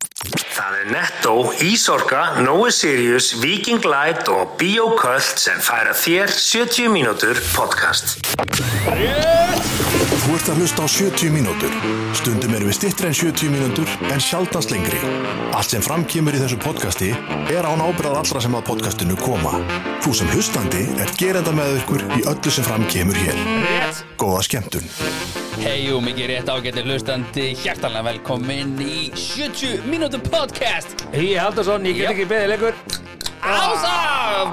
Það er Netto, Ísorka, Nói Sirius, Viking Light og Bioköld sem færa þér 70 mínútur podcast. Þú ert að hlusta á 70 mínútur. Stundum erum við stittri en 70 mínútur en sjaldast lengri. Allt sem framkýmur í þessu podcasti er án ábyrðað allra sem að podcastinu koma. Þú sem hlustandi er gerenda með ykkur í öllu sem framkýmur hér. Góða skemmtun. Hei og mikið rétt ágættir hlustandi, hjertalega velkomin í 70 mínútur podcast Hí Haldarsson, ég get Já. ekki beðið lengur Ása,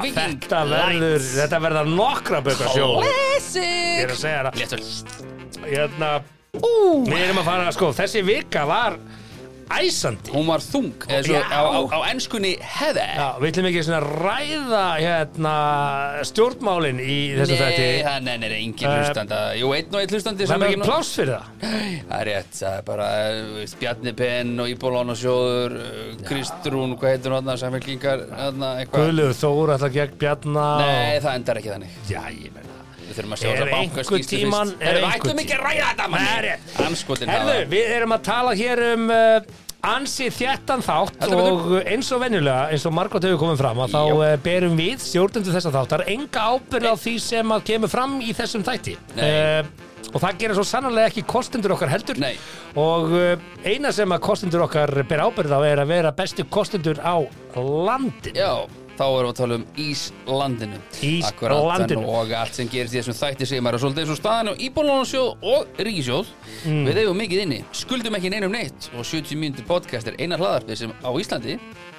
Viking Þetta verður, þetta verða nokkra böka sjó Ég er Classic að segja það Léttur Hérna, Ú, við erum að fara, sko, þessi vika var æsandi Hún var þung, eða svo Já. á, á, á enskunni heather Já, við ætlum ekki svona ræða hérna stjórnmálin í þessu þætti Nei, það nennir engin Eh, hlustanda Jú, einn og einn hlustandi Það sem er er ekki pláss fyrir það Það er rétt, það er bara eh, Bjarni Penn og Íbólón og Sjóður eh, Kristrún, hvað heitir hún þarna, samfélkingar þarna, eitthvað Guðlegu Þór, alltaf gegn Bjarna Nei, það endar ekki þannig Já, ég menna Við þurfum að sjá Er þessa einhver bankaskýrslu tíman fyrst Herru, Við ætlum ekki að ræða þetta manni Anskotin Herðu, við erum að tala hér um uh, ansi þjættan þátt Heldur og eins og venjulega, eins og margótt hefur komið fram að þá Jú. uh, berum við stjórnendur þessa þáttar enga ábyrð á því sem að kemur fram í þessum þætti Nei. uh, og það gerir svo sannarlega ekki kostendur okkar heldur Nei. og uh, eina sem að kostendur okkar ber ábyrð á er að vera bestu kostendur á landin Já, þá erum við að tala um Íslandinu Íslandinu. Akkúrat, en Og allt sem gerist í þessum þætti sem er að svolítið eins og staðan og Íbólónarsjóð og Ríkisjóð Mm. Við eigum mikið inni, skuldum ekki neinum neitt og 70 mínútur podcast er eina hlaðarpið sem á Íslandi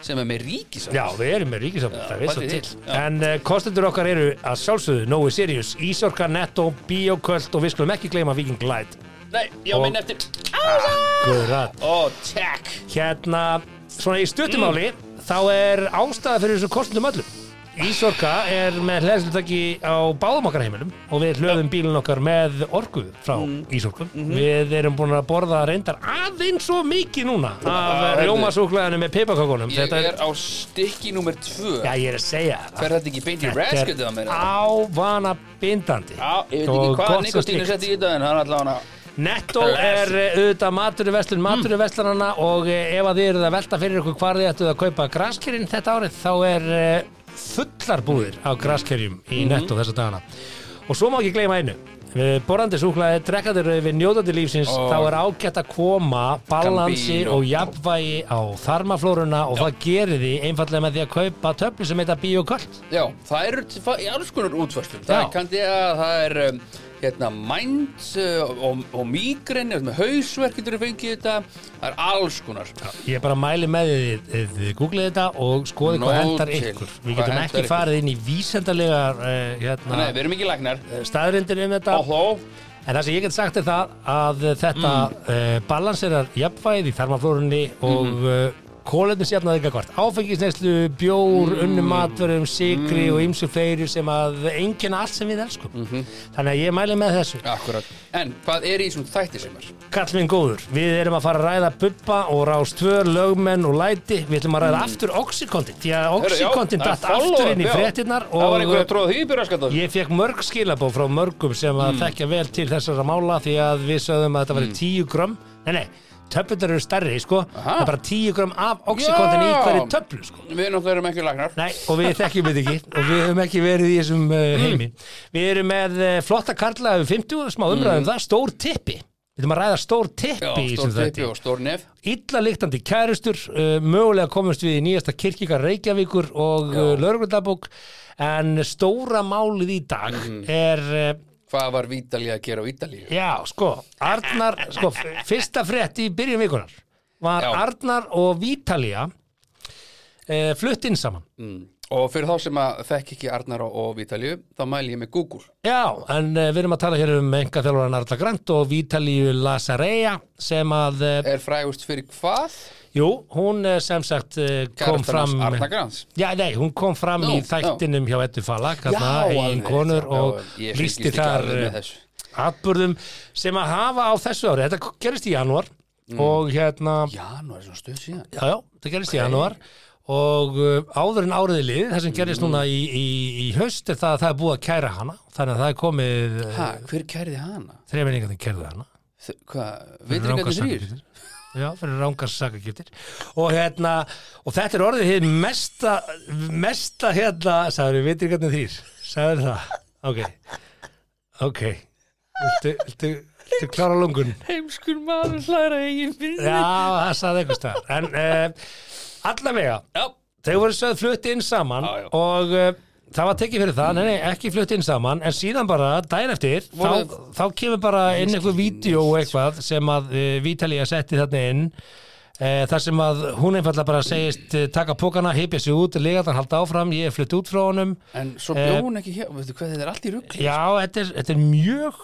sem er með Ríkisjóð Já, við erum með ríkisafn, það er svo pældi því. til. Já. En uh, kostendur okkar eru að sjálfsögðu, Nói Sirius, Ísorka, Netto, Bíoköld og við skulum ekki gleyma Viking Light. Nei, já, Og- minn eftir Ása Guðrat. Ó, tjekk Hérna, svona í stuttumáli, þá er ástæða fyrir þessu kostendum öllum. Ísorka er með hlæðslutaki á báðum okkar heimilum og við hlöðum bílun okkar með orku frá Mm. Ísorku. Mhm. Við erum búin að borða reyndar aðeins og mikið núna af heyrðu. rjómasúklaðinu með peipakokunum. Ég er á stykki númer 2 Já, ég er að segja það. Fer þetta ekki beint í raskutið á mér? ávana bindandi. Já, ég veit Og ekki gott hvað og Nikostínu slíkt. setti í dag en hann allavega Netto er eh, auðvitað maturverslun maturverslunana og eh, ef að þið eruð að velta fyrir ykkur hvar þið ættuð að kaupa graskerinn þetta árið þá er eh, fullar búðir á graskerjum í Netto þessa dagana og svo má ekki gleyma einu Eh, borðandi súklaði, drekkaður við njótandi lífsins Og- þá er ágætt að koma balansi Gambino. og jafnvægi á þarmaflórunna og það gerir því einfallega með því að kaupa töflu sem heita bioköld Já, það eru t- fa- í alls konar útfærslum Það Já. er kandi að það er um, hérna, mind uh, og, og migrin með hausverk getur við fengið þetta Það er alls konar Ég bara mæli með því þið, þið googlið þetta og skoði hvað Nóg hendar til. ykkur. Hvað Við getum hentar ekki ykkur. farið inn í vísendarlegar uh, Nei, við hérna, erum ekki læknar staðrindir um þetta. Og þó, En það sem ég get sagt er það að þetta mm. balanserar jafnvægið í þarmaflórunni og Mm-hmm. mm. uh, kólefnum sjafnaði eitthvað hvort. Áfengisneislu, bjór, Mm. unnum matverum, sigri og ymsu fleiri sem að enginn allt sem við elskum. Mm-hmm. Þannig að ég mæli með þessu. akkurat En hvað er í svona þætti sem er? Kall minn góður, við erum að fara að ræða Bubba og Rástvör, Lögmenn og Læti Við ætlum að ræða aftur Oxycontin Því að Mm. Heyrðu, já, Oxycontin það er datt aftur inn follow-up, í já. fréttinnar Það var einhver að Og eh, tróða því byrjarskatað ég fekk mörg skilabó frá mörgum sem að Mm. þekkja vel til þessara mála Því að við sögðum að þetta væri 10 grömm Nei, nei, töflunar eru stærri, sko Það er bara 10 grömm af Oxycontin í Já. hverju töflu, sko Við náttúrulega erum ekki læknar Nei, og við þekkjum þetta ekki og við höfum ekki verið í þessum uh, Mm. heimi Við erum með uh, flotta karla um 50, smá umræðum það, stór tippi Við erum að ræða stór tippi Mm. Já, í stór þessum tippi þætti og stór nef Illa líktandi kærustur, uh, mögulega komumst við í nýjasta kirkika Reykjavíkur og uh, lögreglundabók En stóra málið í dag Mhm. er, uh, Hvað var Vítalí að gera á Vítalí? já, sko, Arnar, sko, f- fyrsta frétt í byrjun vikunar Var Já. Arnar og Vítalía uh, flutt inn saman Mm. Og fyrir þá sem að þekk ekki Arnar og, og Vítalíu, þá mæli ég með Google. Já, en uh, við erum að tala hér um enga þjálfaran Arla Grant og Vítalíu Lazareya sem að, uh, Er frægust fyrir hvað? jú, hún uh, sem sagt uh, Kærastan kom hans fram Arnar Grans. Já, nei, hún kom fram Nú, í þættinum hjá Eddu Falak, Já, hérna, eigin alveg, konur já, og ég fylgist lísti ekki þar alveg með eh, þessu. atburðum sem að hafa á þessu ári, þetta gerist í janúar Mm. og hérna, Já, nú er svona stuð síðan. já, já, þetta gerist í janúar og uh, áður en áriði lið, það sem gerist Mm. núna í, í, í haust er það að það er búið að kæra hana, þannig að það er komið Ha, hver kærði hana? þrejmenningarnir kærðu hana Þ- Hvað, Rangar vitringarnir þrýr? sakir. Já, fyrir rángar sakagiftir og, hérna, og þetta er orðið hér mesta, mesta hérna, sagður við vitir hvernig þrýr sagður það, ok ok viltu, viltu, viltu klára lungun Heimskur maður hlæra eigin fyrir já, það sagði eitthvað staðar en uh, allavega Já, þau voru sögð flutt inn saman Já, já. og uh, það var tekið fyrir það, nei, nei, ekki flutt inn saman en síðan bara, daginn eftir Voru- þá, þá kemur bara inn eitthvað vídeo og eitthvað sem að uh, Vítalía setti þarna inn uh, þar sem að hún einfallega bara segist uh, taka pókana, hypja sig út, legaðan halda áfram ég er flutt út frá honum en svo Eh, bjón ekki hér Veitu hvað, þetta er allt í rugg já, þetta er, þetta er mjög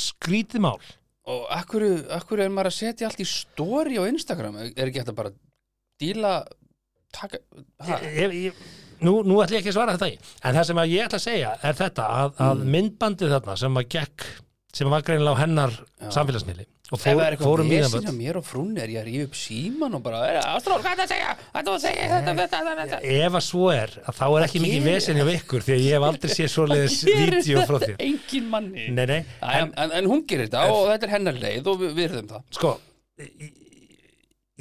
skrítið mál Og akkur, akkur er maður að setja allt í story á Instagram Er ekki hægt að bara díla taka, ha, ég, ég, nú, nú ætla ég ekki að svara þetta Mm. í en það sem að ég ætla að segja er þetta að, að myndbandið þarna sem að gekk sem var greinilega á hennar samfélagsmiðli og Ef það fór, er eitthvað fórum í vesin að það mér og frún er ég að ríða upp síman og bara, er það ástráð, hvað er það að segja? Hvað er það að segja? Þetta, þetta, þetta, þetta. ef að svo er að þá er ekki mikið gerir- vesen hjá ykkur því að ég hef aldrei séð svoleiðis Gerir vídeo frá þetta þér Engin manni. nei, nei, En, en, en hún gerir þetta og þetta er hennar leið og við virðum það. sko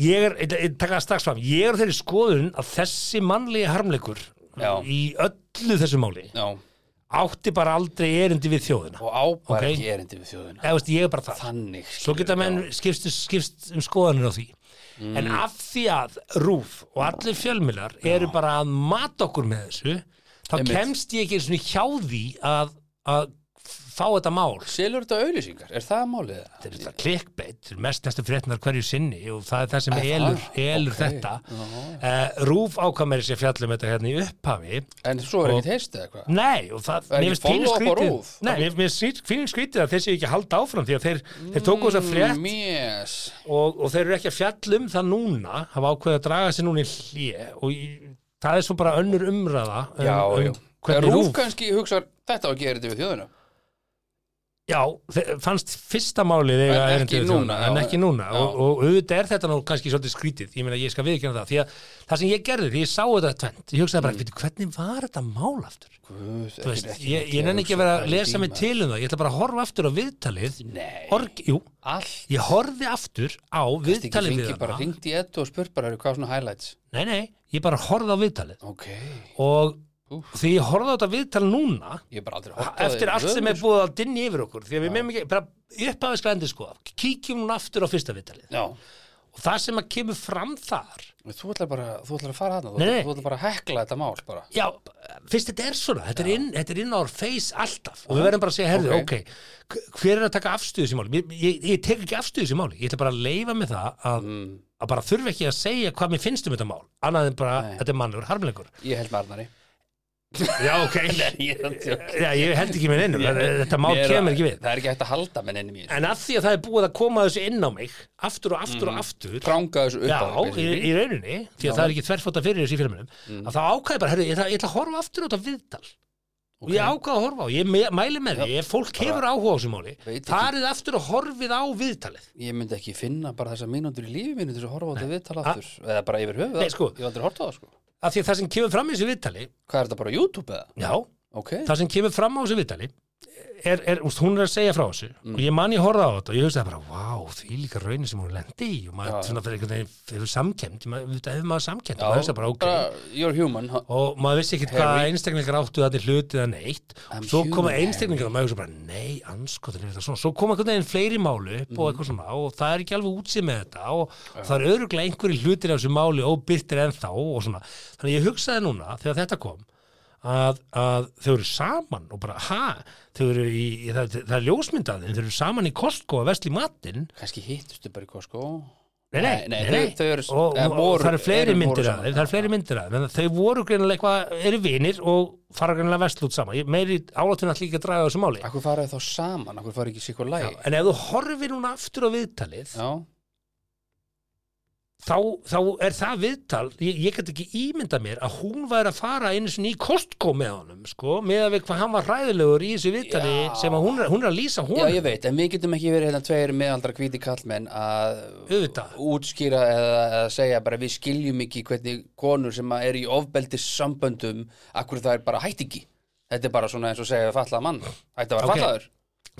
ég er, ég, ég taka það strax fram ég er á þeirri skoðun að þessi mannlegi harmleikur Já. í öllu þessu máli Já, átti bara aldrei erindi við þjóðina og á bara Ok. ekki erindi við þjóðuna. eða veist ég er bara það Þannig. Svo geta menn skipst, skipst um skoðanir á því. En Mm. af því að rúf og allir fjölmilar eru bara að mata okkur með þessu, þá Einmitt. kemst ég ekki einu sinni hjá því að, að fá þetta mál. Selur þetta auðlýsingar, er það málið? Þetta er þetta klikkbeitt, þetta er mest næstu fréttnar hverju sinni og það er það sem Er það? elur, elur Ok. þetta. Uh, rúf ákvæmæri sér fjallum þetta hérna í upphafi. En svo er ekkert heist eða hvað? Nei, og það, er ekki mér finnst pínu follow-up á skrítið RÚV? Nei, mér mér finnst pínu skrítið að þeir séu ekki að halda áfram því að þeir, þeir tóku Mm, þess að frétt um- Mjess. og, og þeir eru ekki að fjalla um það núna hafa ákveðið að draga sér núna í hlje og í, það er svo bara önnur umræða um, Já, um, já. Hvernig hvernig Rúf rúf kannski hugsar, þetta á ekki erindi við þjóðuna. já, þe- fannst fyrsta málið eiga En ekki erindi við núna, þjóðina, já, en ekki núna já. og, og auðvitað er þetta nú kannski svolítið skrítið ég meina ég skal viðkjöna það því að það sem ég gerði því ég sá þetta tvent ég hugsaði bara, mm. hvernig var þetta mál aftur Guð, ekki- Þú veist, ekki- ég, ég nenni ekki að vera að pæla í lesa því, mig maður. til um það ég ætla bara að horfa aftur á viðtalið Nei. Org, jú, Allt ég horfi aftur á ekki viðtalið við ringi bara, hana ringt í ettu og spurt bara, "Eru, hvað er svona highlights? nei, nei, ég bara horfði á viðtalið Ok, og Úff. því ég horfði á þetta viðtal núna ég er bara aldrei horft á eftir þig. allt sem Vöður. er búið að dinni yfir okkur því að við meðum ekki, bara upphafið skal endur sko kíkjum núna aftur á fyrsta viðtalið Já, og það sem að kemur fram þar þú ætlar bara, þú ætlar að fara hana, þú, Nei, nei. þú ætlar bara að hekla þetta mál bara. já, fyrst þetta er svona þetta er, inn, þetta er inn á our face alltaf og við verðum bara að segja, herðu, Ok. ok, hver er að taka afstöðu sem máli, ég, ég, ég tek ekki afstöðu sem máli ég ætla bara að leifa með það Mm. að, að bara þurfa ekki að segja hvað mér finnst um þetta mál annað en bara, Nei. þetta er mannlegur harmleikur Ég held með Arnari. já, ok, Ég er að djóka. já, ég held ekki með neinum þetta mál Mér er kemur að- ekki við Það er ekki hægt að halda með ennum í þetta. En af því að það er búið að koma þessu inn á mig aftur og aftur og aftur Pranga þessu Mm. upp Já, á í, þig, í rauninni, því að það er ekki þverfóta fyrir þessu í filminum Mm. að það ákvæði bara, herrðu, ég ætla, ég ætla að horfa aftur á þetta viðtal og ég ákvæði að horfa á, ég me- mæli með því ef fólk hefur áhuga á þessu máli Veit ekki. farið aftur og horfið á viðtalið basically. Ég myndi ekki finna bara þessa mínútur í lífi mínu til þess að horfa á þetta viðtala aftur. Eða bara yfir höfuð. Nei, sko. Ég hef aldrei horft á það, sko. af því að það sem kemur fram í þessu viðtali Hvað er þetta bara á YouTube eða? já, Ok. það sem kemur fram á þessu viðtali er, er, úst, hún er að segja frá þessu Mm. og ég man ég horfði á þetta og ég hugsaði bara vá, því líka raunin sem hún lendi í og maður Já, svona fyrir einhvern veginn fyrir samkemd, maður, auðvitað hefur maður samkemd og Já, maður hugsaði bara, ok, you're human. ha- og maður vissi ekkert hvað einstaklingar áttu þannig hluti eða neitt I'm og svo koma human, einstaklingar og maður hugsa bara nei, anskotin er þetta svona svo koma einhvern veginn fleiri málu upp Mhm. og eitthvað svona og það er ekki alveg útsið með þetta og það er öruglega einhverju hlutir af þessu máli óbyrtir ennþá og svona þannig að ég hugsaði núna þegar þetta kom að, að þau eru saman og bara ha, þau eru í, í það, það er ljósmyndaðin, þau eru saman í Costco að vesli matinn Kannski hittustu bara sko. í Costco. Nei, nei, Nei, nei, þau- þau eru- og, eða og, voru- það eru fleiri eru- myndir voru að saman. þeim, það eru fleiri myndir að þeim, en þau voru greinilega eitthvað, eru vinir og fara greinilega vestlút saman, ég meiri álátun að líka að draga á þessu máli, Akkur faraði þá saman, akkur faraði ekki sikkur lægi. en ef þú horfir núna aftur á viðtalið, Já, þá, þá er það viðtal, ég, ég get ekki ímynda mér að hún væri að fara einu sinni í Costco með honum, sko, með að við hvað hann var hræðilegur í þessu viðtali Já. sem að hún er, hún er að lýsa já, honum ég veit, en við getum ekki verið hérna tveir meðaldra hvíti kallmenn að Auðvitað. útskýra eða, eða segja bara við skiljum ekki hvernig konur sem að eru í ofbeldis samböndum, akkur það er bara hætt ekki. Þetta er bara svona eins og segja við fallað mann, hætti að vera Ok. fallaður.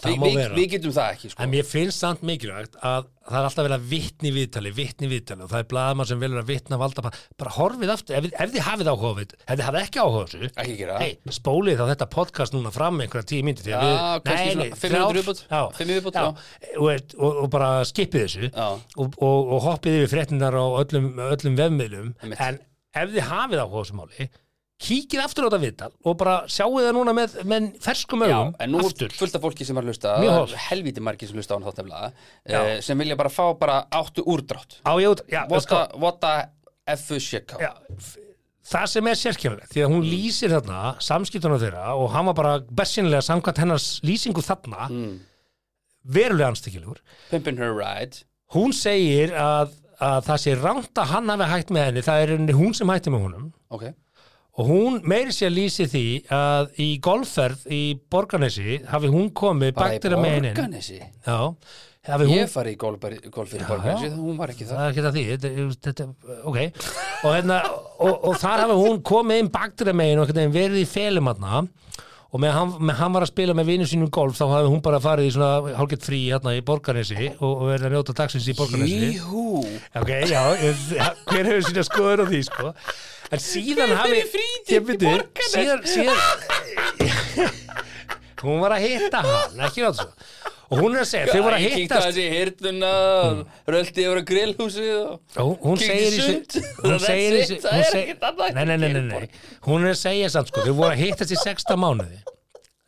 það Við- má við- vera Við getum það ekki sko. En mér finnst samt mikilvægt að það er alltaf vel að vitni í viðtali, vitni í viðtali og það er blaðmann sem velur að vitna valda bara, bara horfið aftur, ef, þið- ef þið hafið áhuga á við, ef þið hafið ekki áhuga á þessu Ekki gera það. hey, spólið þá þetta podcast núna fram einhverja tíu myndi Já, kannski svona fimm mínútur í viðbót, fimm í viðbót, og, og, og bara skipið þessu Já. og, og, og hoppið yfir fréttinar á öllum, öllum vefmiðlum Einmitt. en ef þið hafið áhuga á þessu máli kíkið aftur á þetta viðtal og bara sjáu það núna með, með ferskum Já, augum en nú aftur. er fullt af fólki sem er að hlusta Mjög það hóf. er helviti margir sem hlusta á hann þátt nefnilega eh, sem vilja bara fá bara áttu úrdrátt Á, ég, út- já, What sko, the- what the f shit já, f- það sem er sérkjörlega því Mm. að hún lýsir þarna samskiptuna þeirra og hann var bara bessinlega samkvæmt hennars lýsingu þarna Mm. verulega anstekkilegur Pimpin' her right hún segir að, að það sé rangt að hann hafi hægt með henni það er henni hún sem hætti með honum Ok, og hún meiri sér lýsi því að í golfferð í Borganesi hafi hún komið bara í baktir að með henni Borgarnesi já, hafi hún Ég fari í golfari- golf fyrir Borgarnesi Hún var ekki það það er ekki það því þetta, þetta, ok og, hérna, og, og þar hafa hún komið inn baktur megin og einhvern veginn verið í felum hann og með hann, með hann var að spila með vinu sínum golf þá hafi hún bara farið í svona hálfgett frí hérna í borgarnesi og, og verið að njóta dagsins í borgarnesi Jíhú ok, já, ég- hver hefur sína skoður á því sko en síðan Hver fer hafi í frítíð Ég byrju, í Borgarnes? síðan, síðan hún var að hitta hann ekki nátt svo og hún er að segja, þau voru að Æ, kíkti hittast aðeins í hirtuna Röldi yfir að grillhúsið og- Já, hún Kíkti segir í í sund. sig hún That's segir í it, sig það hún er seg- ekkert annað nei, nei, nei, nei, nei. hún er að segja samt sko þau voru að hittast í sexta mánuði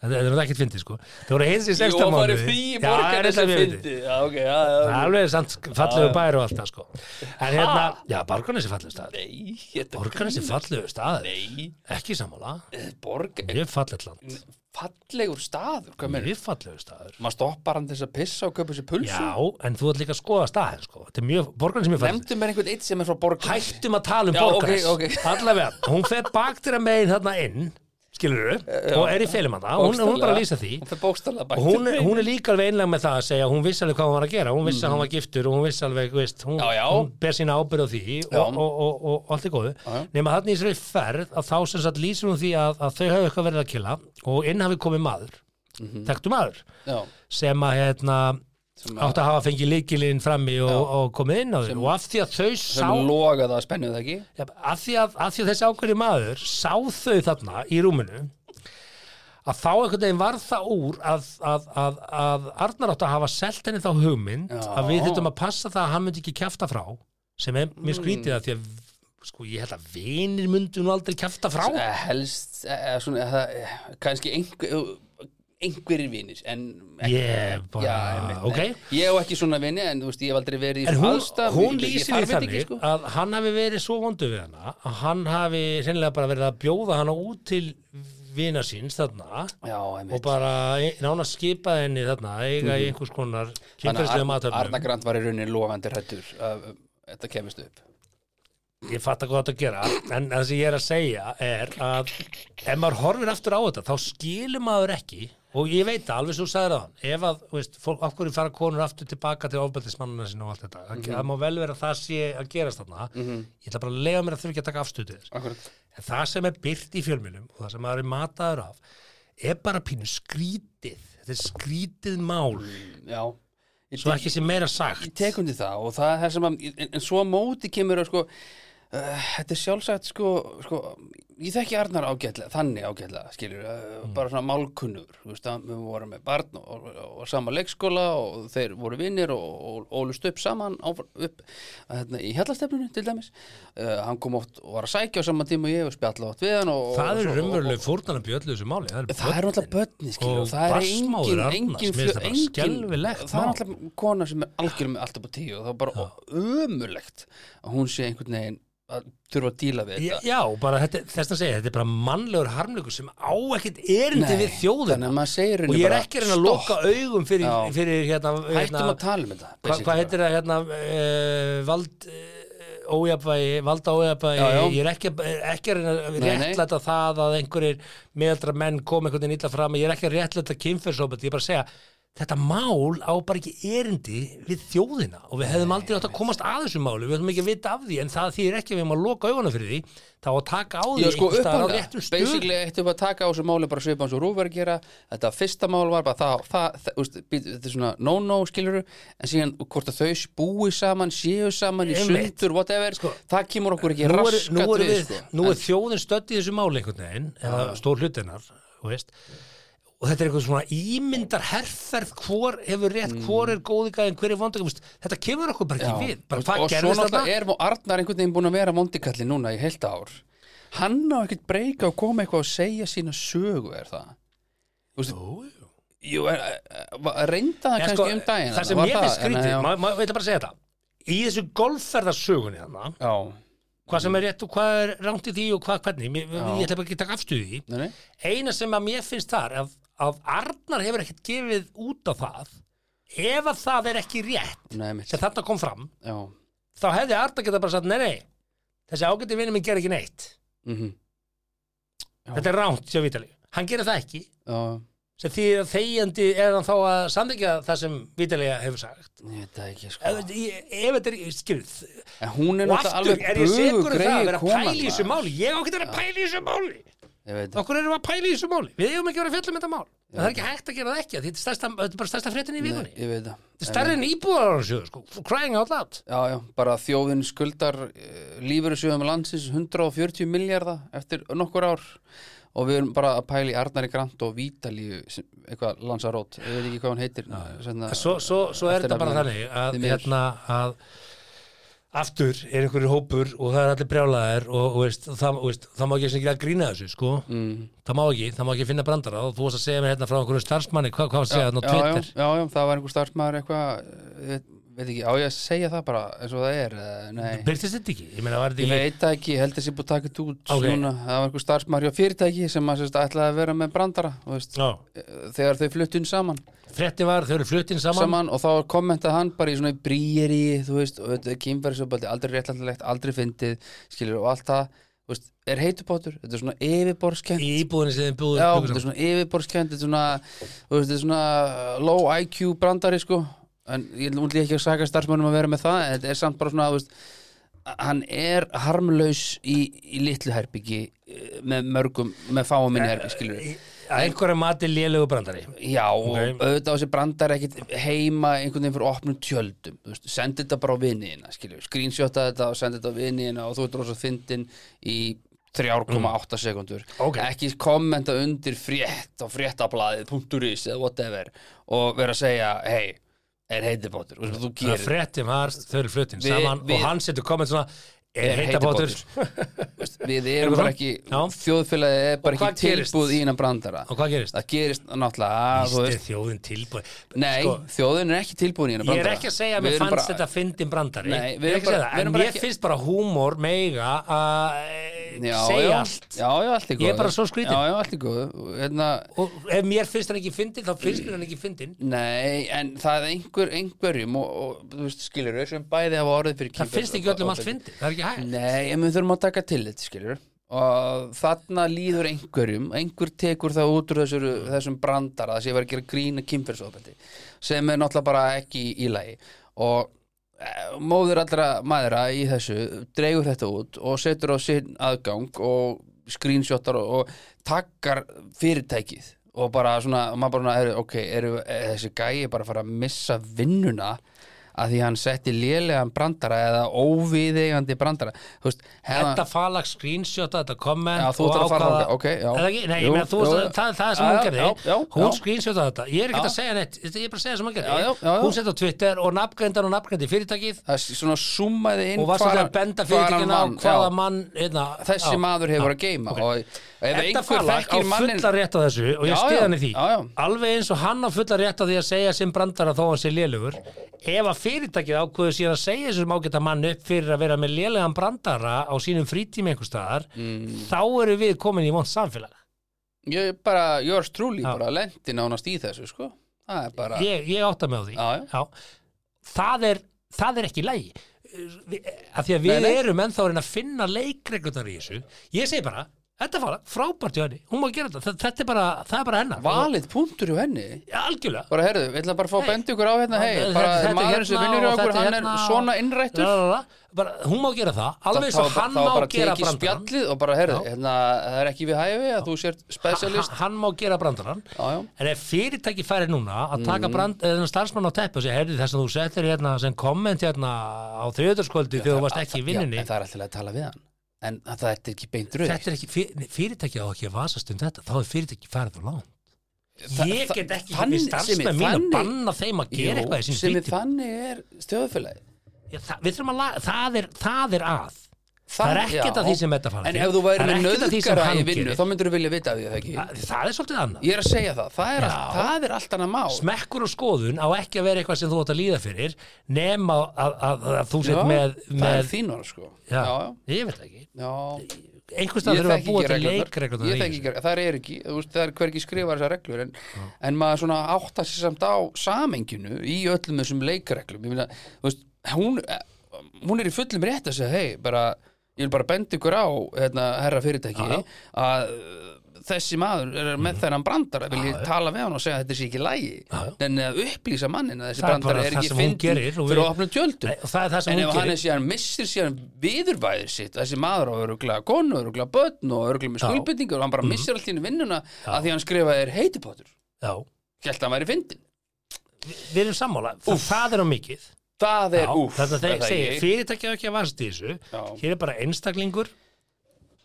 þetta þetta er ekkert fyndið sko þau voru að hittast í Jú, sexta hann var í mánuði frí í Já, það er Borgarnesi þetta mjög fyndið. fyndi Já, ok, já, Það er já alveg samt Ah. fallegu bæri og allt það sko en hérna, já, Borgarnes er fallegu stað Nei, þetta Borgarnes er fallegu stað Nei, ekki sammála, borg mjög fallegt land Fallegur staður, hvað meður mjög fallegu staður Maður stoppar hann til þess að pissa og köpa sér pulsu já, en þú ert líka að skoða staðin sko Þetta er mjög, Borgarnes er mjög fallegt Nefndu mér einhvern eitt sem er frá Borgarnesi hættum að tala Já, um Borgarnes ok, ok. allavega, hún fer baktir að megin þarna inn skilur og er í felum hana hún, hún er bara að lýsa því Hún fer bókstallega og bætt hún, er- hún er líka alveg einlega með það að segja hún vissi alveg hvað hún var að gera, hún vissi að hann var giftur og hún vissi alveg, þú veist, hún, Mhm. Já, já. hún ber sína ábyrð á því og, Já. og, og, og, og allt er góðu nema þannig í þessari ferð að þá sem sagt lýsir hún því að, að þau hafi eitthvað verið að killa og inn hafi komið maður mm maður Já, sem að hérna Mhm. Sem að- átt að hafa fengið líkilinn frammi og, og komið inn á þau og af því að þau sá sem loga það að spennu það ekki Já, að því að, að því að þessi ákveðni maður sá þau þarna í rúminu að þá einhvern veginn varð það úr að, að, að, að Arnar átt að hafa selt henni þá hugmynd Já. að við þurftum að passa það að hann myndi ekki kjafta frá sem er mér skrítið að því að sko ég held að vinir myndu nú aldrei kjafta frá Eh, helst eh, svona, eh, það, eh, kannski einhver, eh, einhverjir vinir en ekki- Ég bara- einmitt, ok. nei. ég á ekki svona vini en þú veist ég hef aldrei verið í en svona hún, aðstæðum, hún ég- ég lýsir því þarf þetta þannig sko. að hann hafi verið svo vondu við hana að hann hafi hreinlega bara verið að bjóða hana út til vina síns þarna já, og einmitt bara nána skipaði henni þarna eiga í einhvers konar Mhm. Þannig kynferðslega að Ar- Arna matöfnum Grand var í rauninni lofandi hrættur að um, þetta kemist upp ég fatt að hvað þetta að gera en það sem ég er að segja er að ef maður horfir aftur á þetta þá skilur maður ekki og ég veit það alveg svo sagði það ef að, þú veist, fólk, af hverju fara konur aftur tilbaka til ofbeldismannina sinna og allt þetta það Mhm. það má vel vera að það sé að gerast þarna ég ætla bara að lega mér að þurfi ekki að taka afstöðið Akkurat. en það sem er byrt í fjölmjölum og það sem maður er mataður af er bara pínu skrítið þetta er skrítið mál Mhm. Mm, já ég, svo tek- ekki sem meira sagt ég tek undir það og það er það sem að en, en svo á móti kemur að sko uh, þetta er sjálfsagt sko, sko ég þekki Arnar ágætlega, þannig ágætlega skilur, uh, bara svona málkunnur þú veist að við vorum með barn og, og, og sama leikskóla og þeir voru vinnir og, og ólust upp saman á, upp, hérna, í hellastefnunni til dæmis uh, hann kom oft og var að sækja á sama tíma og ég og spjalla oft við hann og, Það og, eru svo- raunveruleg fórnana bjöllu þessu máli Það er náttúrulega börni, skilur, Og og það er barnsmóðir engin, Arnars, engin, mér finnst það fjö- bara skelfilegt það er mál. náttúrulega kona sem er algjörum með allt upp á tíu og það er bara ömulegt að hún sé einhvern veginn að þurfa að díla við Já, þetta. já, bara þetta, þess að segja, þetta er bara mannlegur harmleikur sem á ekkert erindi Nei, við þjóðina þannig að maður segir og henni ég er bara, ekki að reyna að stopp. loka augum fyrir, Já. fyrir hérna, Hættum hérna að tala um þetta. hvað hva basically. heitir það hérna uh, vald uh, ójafvægi, valda ójafvægi Já, já. ég er ekki, að- er ekki að reyna að Nei, nei. réttlæta það að einhverjir meðaldra menn kom einhvern veginn illa fram ég er ekki að réttlæta kynferðsóbet, ég er bara að segja þetta mál á bara ekki erindi við þjóðina og við hefðum aldrei átt að komast að þessu málu, við höfum ekki að vita af því en það þýðir ekki að við höfum að loka augunum fyrir því þá að taka á því Já, sko, einhvers staðar á upphaflega, réttum stöðum. basically eftir að taka á þessu máli bara svipa hans og rúfur að gera þetta fyrsta mál var bara það, það, það úst, být- þetta er svona no-no skiluru en síðan hvort að þau búi saman séu saman í Einmitt. sundur, whatever Sko, það kemur okkur ekki nú er, raskat nú er, við, við, sko. nú er þjóðin stödd í þessu máli einhvern veginn, eða stór hlutinnar og veist og þetta er eitthvað svona ímyndar herferð hvor hefur rétt, Mm. hvor er góði gæðin hver er vondagum, þetta kemur okkur bara ekki við bara hvað og svo gerðist náttúrulega þetta er Mó- Arnar einhvern veginn búin að vera mondikallin núna í heilt ár hann á ekkert breyka og koma eitthvað að segja sína sögu er það Úst, Jú, jú, er, er, reynda það En kannski sko, um daginn það sem var mér finnst en, skrítið, já. maður ma, veit að bara segja þetta í þessu golfferðarsögunni þannig já, hvað Mm. sem er rétt og hvað er rangt í því og hvað hvernig, mér, ég ætla bara ekki að taka afstöðu í því Nei, nei. eina sem að mér finnst þar að, að Arnar hefur ekkert gefið út á það ef að það er ekki rétt Nei, mitt, sem þarna kom fram, já þá hefði Arnar geta bara sagt, nei nei, þessi ágæti vinur minn ger ekki neitt, mhm þetta er ránt hjá Vítali, hann gerir það ekki Já, sem því að þegjandi er hann þá að samþykja það sem Vítali hefur sagt ég veit það ekki sko ef, ef, ef þetta er skilð En hún er og náttúrulega aftur alveg er ég segur um bugugreið það að vera að kona, pæla í þessu maður. máli ég á ekki að vera að pæla í þessu máli Ég veit það okkur erum við að pæla í þessu máli við eigum ekki að vera að fjalla um þetta mál en það er ekki hægt að gera það ekki af því þetta er stærsta- þetta er bara stærsta fréttin í vikunni Ég veit það Þetta er stærri en íbúðararsjóður, sko, for crying out loud. Já, já, bara að þjóðin skuldar uh, lífurusjöfum landsins 140 miljardar eftir nokkur ár og við erum bara að pæla í Arnari Grant og Vítalíu, sem- eitthvað landsarót ég veit ekki hvað hann heitir Svenna, Svo, svo, svo er þetta bara þannig að, Því miður. hérna, að aftur er einhverju hópur og það er allir brjálaðir og, og veist, það, veist, það má ekki sem ekki að grína þessu, sko. Mm. Það má ekki, það má ekki finna brandara og þú varst að segja mér hérna frá einhverju starfsmanni, hvað, hvað varst að segja þarna á já, já, Twitter? já, já, það var einhver starfsmaður eitthvað eh, veit, veit ekki, á ég að segja það bara eins og það er, eh, nei Byrtist þetta ekki? Ég meina, var Ég þetta ekki... veit það ekki, ég held þessi búið að taka þetta út Ok. núna, það var einhver starfsmaður hjá fyrirtæki sem að sérst, ætlaði að vera með brandara þú veist, Já, þegar þau fluttin saman, frétti var, þau eru fluttin saman. saman og þá kommentaði hann bara í svona brýjeri, þú veist, og þetta er kýmverðisöbaldi, aldrei réttlætilegt, aldrei fyndið skilur og allt það, þú veist, er heitupátur, þetta er svona yfirborskend Í íbúðinni sem þeim búið Já, þetta er svona yfirborskend, þetta er svona, þú veist, þetta er svona low IQ brandari sko, en ég vil útlega ekki að saka starfsmönnum að vera með það, en þetta er samt bara svona, þú veist, hann er harmlaus í, í litlu herbyggi eh, með mörgum, með fáum minni herbyggi, skilur við. Að einhverja mati lélegu brandari. Já, og Ok. auðvitað á sér brandar ekkit heima einhvern veginn fyrir opnum tjöldum þú veist, sendi þetta bara á viniðina, skiljum screenshota þetta og sendi þetta á viniðina og þú ert rosa fyndin í 3,8 sekundur Mm. Ok. ekki kommenta undir frétt á fréttablaðið.is eða whatever og vera að segja, hei er heitibátur, og þú Það gerir fréttim var, þau eru fluttin Við- saman við- og hann setur komment svona er heita bátur Veist, við Erum erum við bara það? ekki, Já. þjóðfélagið er bara Og hvað ekki gerist? tilbúð í hennan brandara og hvað gerist? það gerist náttúrulega að, þú Ísti veist, þjóðin tilbúið Nei, Sko, þjóðin er ekki tilbúin í hennar ég brandara er ekki að segja að Við mér erum fannst bara- þetta fyndin brandari Nei, Ég við er erum ekki að segja bara- það, við en erum bara mér ekki- finnst bara húmor meiga að já, eh, já, segja allt já, já, allt í góðu Ég er bara svo skrýtin. já, já, allt í góðu hérna, og ef mér finnst hann ekki fyndin þá finnst mér hann ekki fyndin nei, en það er einhver, einhverjum og, og þú veist, skilur við sem bæði hafa orðið fyrir það kynferðis- finnst ekki öllum allt ofbeldi. fyndin, það er ekki hægt nei, en við þurfum að taka til þetta skilur og þarna líður einhverjum einhver tekur það út úr þessur, þessum brandara þess að ég var að gera grína kynferðsofbeldi sem er náttúrulega bara ekki í lagi og eh, móður allra maðra í þessu dreigur þetta út og setur á sinn aðgang og screenshotar og, og takkar fyrirtækið og bara svona, og maður bara, svona, heyrðu, ok, eru, er þessi gæi bara að fara að missa vinnuna að því hann setti lélegan brandara eða óviðeigandi brandara þú veist, hefða- Þetta falag screenshota, þetta comment Já, þú og ætlar að fara ákvaða- þangað, ok, já. Eða ekki, nei, Jú, ég meina, þú, jú, jú, já. það, það er sem Já, hún já, gerði já, Hún já. screenshota þetta, ég er ekkert Já. að segja neitt Ég er bara að segja sem hún Já, já, já, gerði já. Hún sett á Twitter og nafngreindar og nafngreindi fyrirtækið það er svona summaði inn og var hvar svolítið hann- að benda hvar hann fyrirtækina á vann, hvaða já. mann hérna, einna, þessi maður hefur að geima og ef Þetta einhver falag á þekkir mannin fulla rétt á þessu og ég Já, stið já, hann í því já, já. alveg eins og hann á fulla rétt á því að segja sem brandara þó hann sé lélugur ef að fyrirtækið ákveður síðan að segja þessum ágæta mann upp fyrir að vera með lélegan brandara á sínum frítími einhver staðar Mm. þá eru við komin í vond samfélag ég er bara, yours truly Já. bara lendi nánast í þessu sko það er bara, ég, ég átta mig á því Já, já. Það, er, það er ekki lægi af því að við Nei, nei. erum ennþá að reyna að finna leikreglunar í þessu ég segi bara Þetta er fara, frábært hjá henni, hún má gera þetta, Þa- þetta er bara, það er bara hennar Valið punktur hjá henni Og- Algjörlega bara herðu, við ætlum bara að fá að benda ykkur á hérna hei, Þetta- bara þetta er maður sem hérna vinnur í og okkur, þetta hann er hérna og- svona innrættur la, la, la, bara, Hún má gera það, alveg Þá- svo þá- hann þá má bara gera tekið brandarann spjallið og bara herðu, hérna, það er ekki við hæfi að þú sért Ha- specialist Hann má gera brandarann Já, já. Mm. En ef fyrirtæki færi núna að taka brand, eða starfsmann á teppu og segja, heyrðu þess að þú settir hérna sem komment hérna á þriðutaskvöldi þegar þú varst ekki í Já, vinninni en það er alltaf að tala við hann en það er ekki beint rauð Þetta er ekki, fyr- nei, fyrirtæki á ekki að vasast um þetta, þá er fyrirtæki farið á langt. Þa- Ég þa- get ekki þannig- við Simmi, starfsmenn mín að þannig- banna þeim að gera eitthvað í sem sín er þannig er stjóðfélagi stríti. Það er- það er að. Það er ekkert að því sem þetta fara en til. ef þú væri Það er með ekkert að því sem nöðgara hann í vinnu gerir. þá myndur þú vilja vita af því að það ekki Það það er svolítið annað. ég er að segja það, það er, allt, það er allt annað mál Smekkur og skoðun á ekki að vera eitthvað sem þú átt að líða fyrir nema að, að, að, að þú Já, sett með, það er með þín orð sko já, já, já. ég veit það ekki. Já, ég Einhvers stað þurfum við að þekki búa ekki til reglurnar leikreglum. Ég þekki ekki, það er ekki, þú veist, það er hver ekki skrifar þessar reglur en, en maður svona áttar sér samt á samenginu í öllum þessum leikreglum Ég meina, þú veist, hún, hún er í fullum rétt að segja, hei, bara ég vil bara benda ykkur á, hérna, herra fyrirtæki Já, já. að uh, þessi maður er með þennan brandara vil ég tala við hann og segja að þetta sé ekki Já, lægi en að upplýsa mannin að þessi Það er bara brandara er það ekki sem hún fyndin gerir og fyrir við- að opna tjöldum Nei, og það er það sem en hún ef gerir. hann er síðan missir síðan viðurvæðið sitt þessi maður á öruglega konu, öruglega börn og öruglega með Já. Mhm. skuldbytningur og hann bara missir allt í henni vinnuna að því hann skrifaði er heitipottur Já, held að hann væri fyndin við erum sammála. Það, það er á mikið. það er Já, Eh, úff þetta er þeir það segir, ekki? fyrirtækja ekki að varast í þessu Já. hér er bara einstaklingur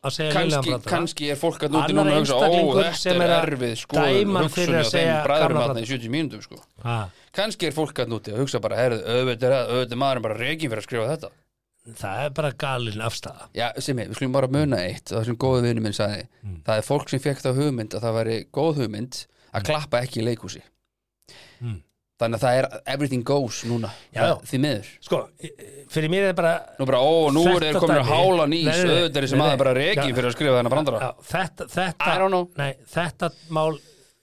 að segja kannski, lélegan brandara. kannski er fólk að núti Annar núna að hugsa, ó einstaklingur þetta sem er er að erfið sko dæma hann fyrir að segja gamla bræðurum brandara. þarna í 70 mínúndum sko Ha, kannski er fólk að núti að hugsa bara herðu, auðvitað er það, auðvitað er maðurinn bara reygin fyrir að skrifa þetta það er bara galin afstæða Já, Simmi, við skulum bara muna eitt það sem góðu vinnu minn sagði Mm. það er fólk sem fekk þá hugmynd að það væri góð hugmynd að klappa ekki í leikhúsi Mm. þannig að það er everything goes núna Já. Það- því miður sko, e- e- fyrir mér er bara Nú bara, ó, nú Þetta er þeir komin að dæmi- hála nýs Nei, nei, nei, auðvitað er þessi nei, nei. maður bara reikin Já. fyrir að skrifa þennan brandara já, þetta, I don't þetta, know. nei, þetta mál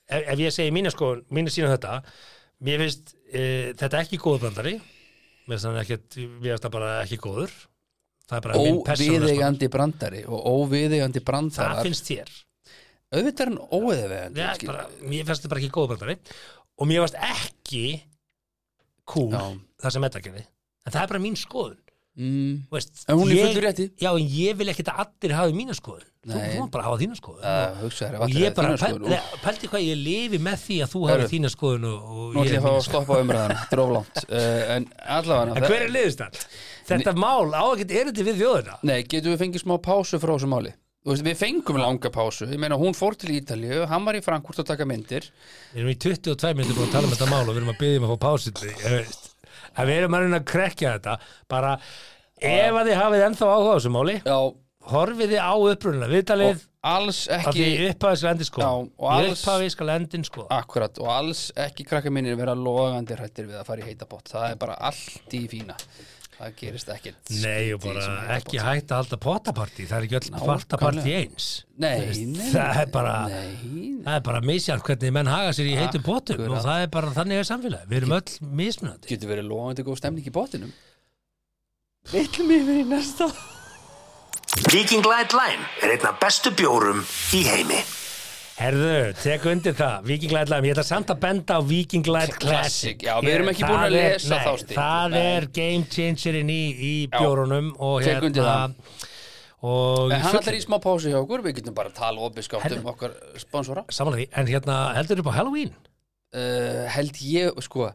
ef, ef ég segi mínu sko, mínu sína þetta mér finnst e, þetta ekki góð brandari mér finnst hann ekkert, mér finnst það bara ekki góður það er bara minn persónlega Óviðeigandi brandari og óviðeigandi það brandarar finnst þér auðvitað er hann Já, óviðeigandi bara, mér fannst þetta bara ekki góð brandari og mér fannst ekki cool Já. það sem þetta gerði en það er bara mín skoðun mm, Þú veist, En hún er í ég- fullu rétti. já, en ég vil ekkit að allir hafi mína skoðun þú Nei. má bara hafa þína skoðun að hugsa þér og ég bara, pæl, pældi hvað ég lifi með því að þú hafi Heyrðu. þína skoðun og, Nú og ég ætlum ég að fá mína að stoppa umræðan, dróflámt uh, En allavega en hver er liðustan? þetta mál á ekkert erindi við þjóðina Nei, getum við fengið smá pásu frá þessu máli? Þú veist, við fengum langa pásu, ég meina hún fór til Ítalíu, hann var í Frankúrt að taka myndir við erum í 22 minnum búin að tala um þetta mál og við erum að byggja um að fá pásildi en við erum að reyna að krekja þetta bara Ah. ef að þið hafið ennþá áhuga á þessu máli Já, horfið þið á upprunalega viðtalið og alls að ekki, því upphafi skal endin sko Já, og í alls- upphafi skal endin sko akkurat, og alls ekki krakka minnir vera logandi hrættir við að fara í heitabott Það er bara allt í fína, það gerist ekkert nei skrítið og í bara þessum ekki heitapotti. hægt að halda pottapartí það er ekki öll Nákvæmlega. pottapartí eins Nei, nei, það er bara- Nei, það er bara misjant hvernig menn haga sér í heitum pottum Akkurat. og það er bara þannig að samfélagi við erum öll mismunandi getur verið logandi góð stemning í bottinum Villum yfir í næsta Viking Light Line er einn af bestu bjórum í heimi. herðu, tek undir það, Viking Light Lime ég ætla samt að benda á Viking Light Classic Classic, já, við erum ekki búin að Það er- lesa nei, þá stiklu, það nei. er game changerinn í, í bjórunum og hérna- tek undir það. og En hann fullu- allar í smá pásu hjá okkur, við getum bara að tala opiðskátt um okkar sponsora Samanlega því, en hérna heldur upp á Halloween uh, held ég, sko uh,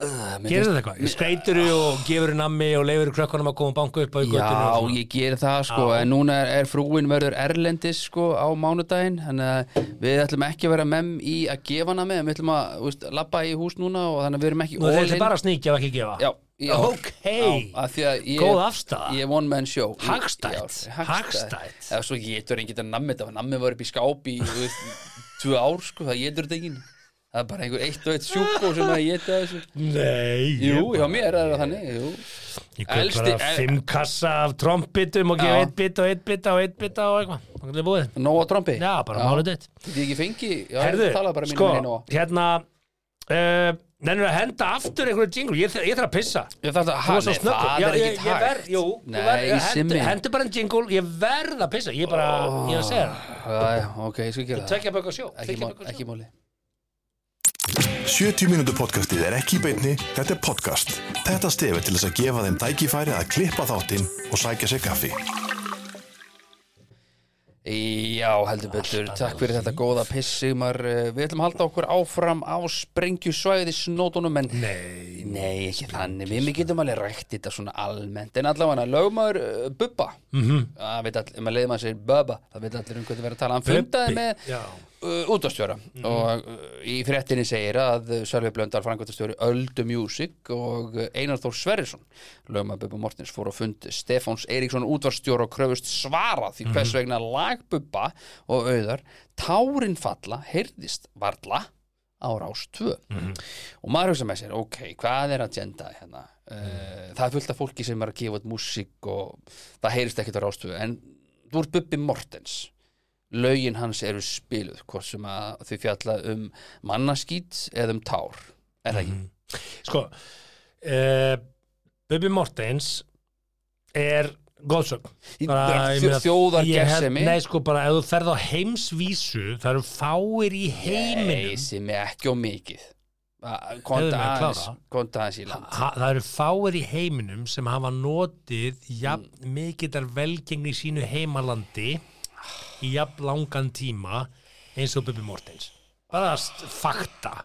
Gerir þetta eitthvað? Skreitur og gefur nammi og leifur krökkunum að koma og banka upp á í Já, göttunum ég ger það sko, Já. en núna er, er frúin verður erlendis sko á mánudaginn, þannig að við ætlum ekki að vera mem í að gefa hana með, við ætlum að þú veist, labba í hús núna og þannig að við erum ekki Nú þeir all ætla in. bara að sníkja og ekki gefa Já, já, Ok. já, af því að ég, Góð afstaða. Ég er one man show Ég- Hagstætt. já, Hagstætt. Eða svo getur enginn að nammi þetta, nammi var upp í skáp í þú veist, tvö ár sko, það getur þetta enginn Það er bara einhver eitt og eitt sjúko sem að geta þessu Nei Jú, hjá mér er það þannig, jú Ég kaup elsti- bara el- fimm kassa af trombitum og Já. gefa eitt bita og eitt bita og eitt bita og eitthvað Það er búið Nóa Trompi Já, bara málið þitt Þið ekki fengi, já, Herðu, sko, ég talaði bara mínu sko, minni Nóa hérna uh, Nennir að henda aftur einhverju jingle Ég, þ- ég þarf að pissa Ég þarf að Þú var svo snöggur. Ah, það Já, er ég- ekki ég verð- Jú, Nei, ég verð, ég Simmi. hendi, hendi bara en jingle Ég verð að pissa Ég er bara, ég er að segja það. Já, já, ok, ég skal gera það Tvekja bökk á sjó Ekki, tveggja má, bökk á sjó. ekki máli 70 mínútur podcastið er ekki í beinni, þetta er podcast. Þetta stefið til þess að gefa þeim tækifæri að klippa þáttinn og sækja sér kaffi. Já, heldur betur, takk fyrir þetta góða piss Sigmar, Eh, við ætlum að halda okkur áfram á sprengjusvæði snótunum en nei, ekki þannig við getum alveg rækt þetta svona almennt en allavega, lögmaður uh, Bubba mm -hmm. að veit allir, ef maður leiði maður sér Bubba það veit allir um hvað það verið að tala, hann fundaði með já. uh, útastjóra og uh, í fréttinni segir að uh, Sölvi Blöndal frangvöldastjóri Öldu Music og uh, Einar Þór Sverrisson lögum að Bubba Mortens fór á fund Stefáns Eiríksson útvarstjóra og kröfust svara því hvers vegna lag Bubba og auðar tárin falla heyrðist varla á rás 2 og maður hugsa með sér, ok, hvað er að tjenda hérna, uh, það er fullt af fólki sem er að gefa út músík og það heyrist ekkert á rás 2 en þú ert Bubbi Mortens lögin hans eru spiluð hvort sem að þau fjalla um mannaskýt eða um tár er það ekki? Sko uh, Bubbi Mortens Er góðsögn Bara, Þjó- ég meina, ég held- þjóðargersemi Nei, sko, bara ef þú ferð á heimsvísu Það eru fáir í heiminum Nei, sko. sem er ekki og mikið Að- Hefðu konta maður klárað? aðeins konta aðeins í land ha, það eru fáir í heiminum sem hafa notið jafn mm. mikillar velgengni í sínu heimalandi í jafn langan tíma eins og Bubi Mortens bara st- fakta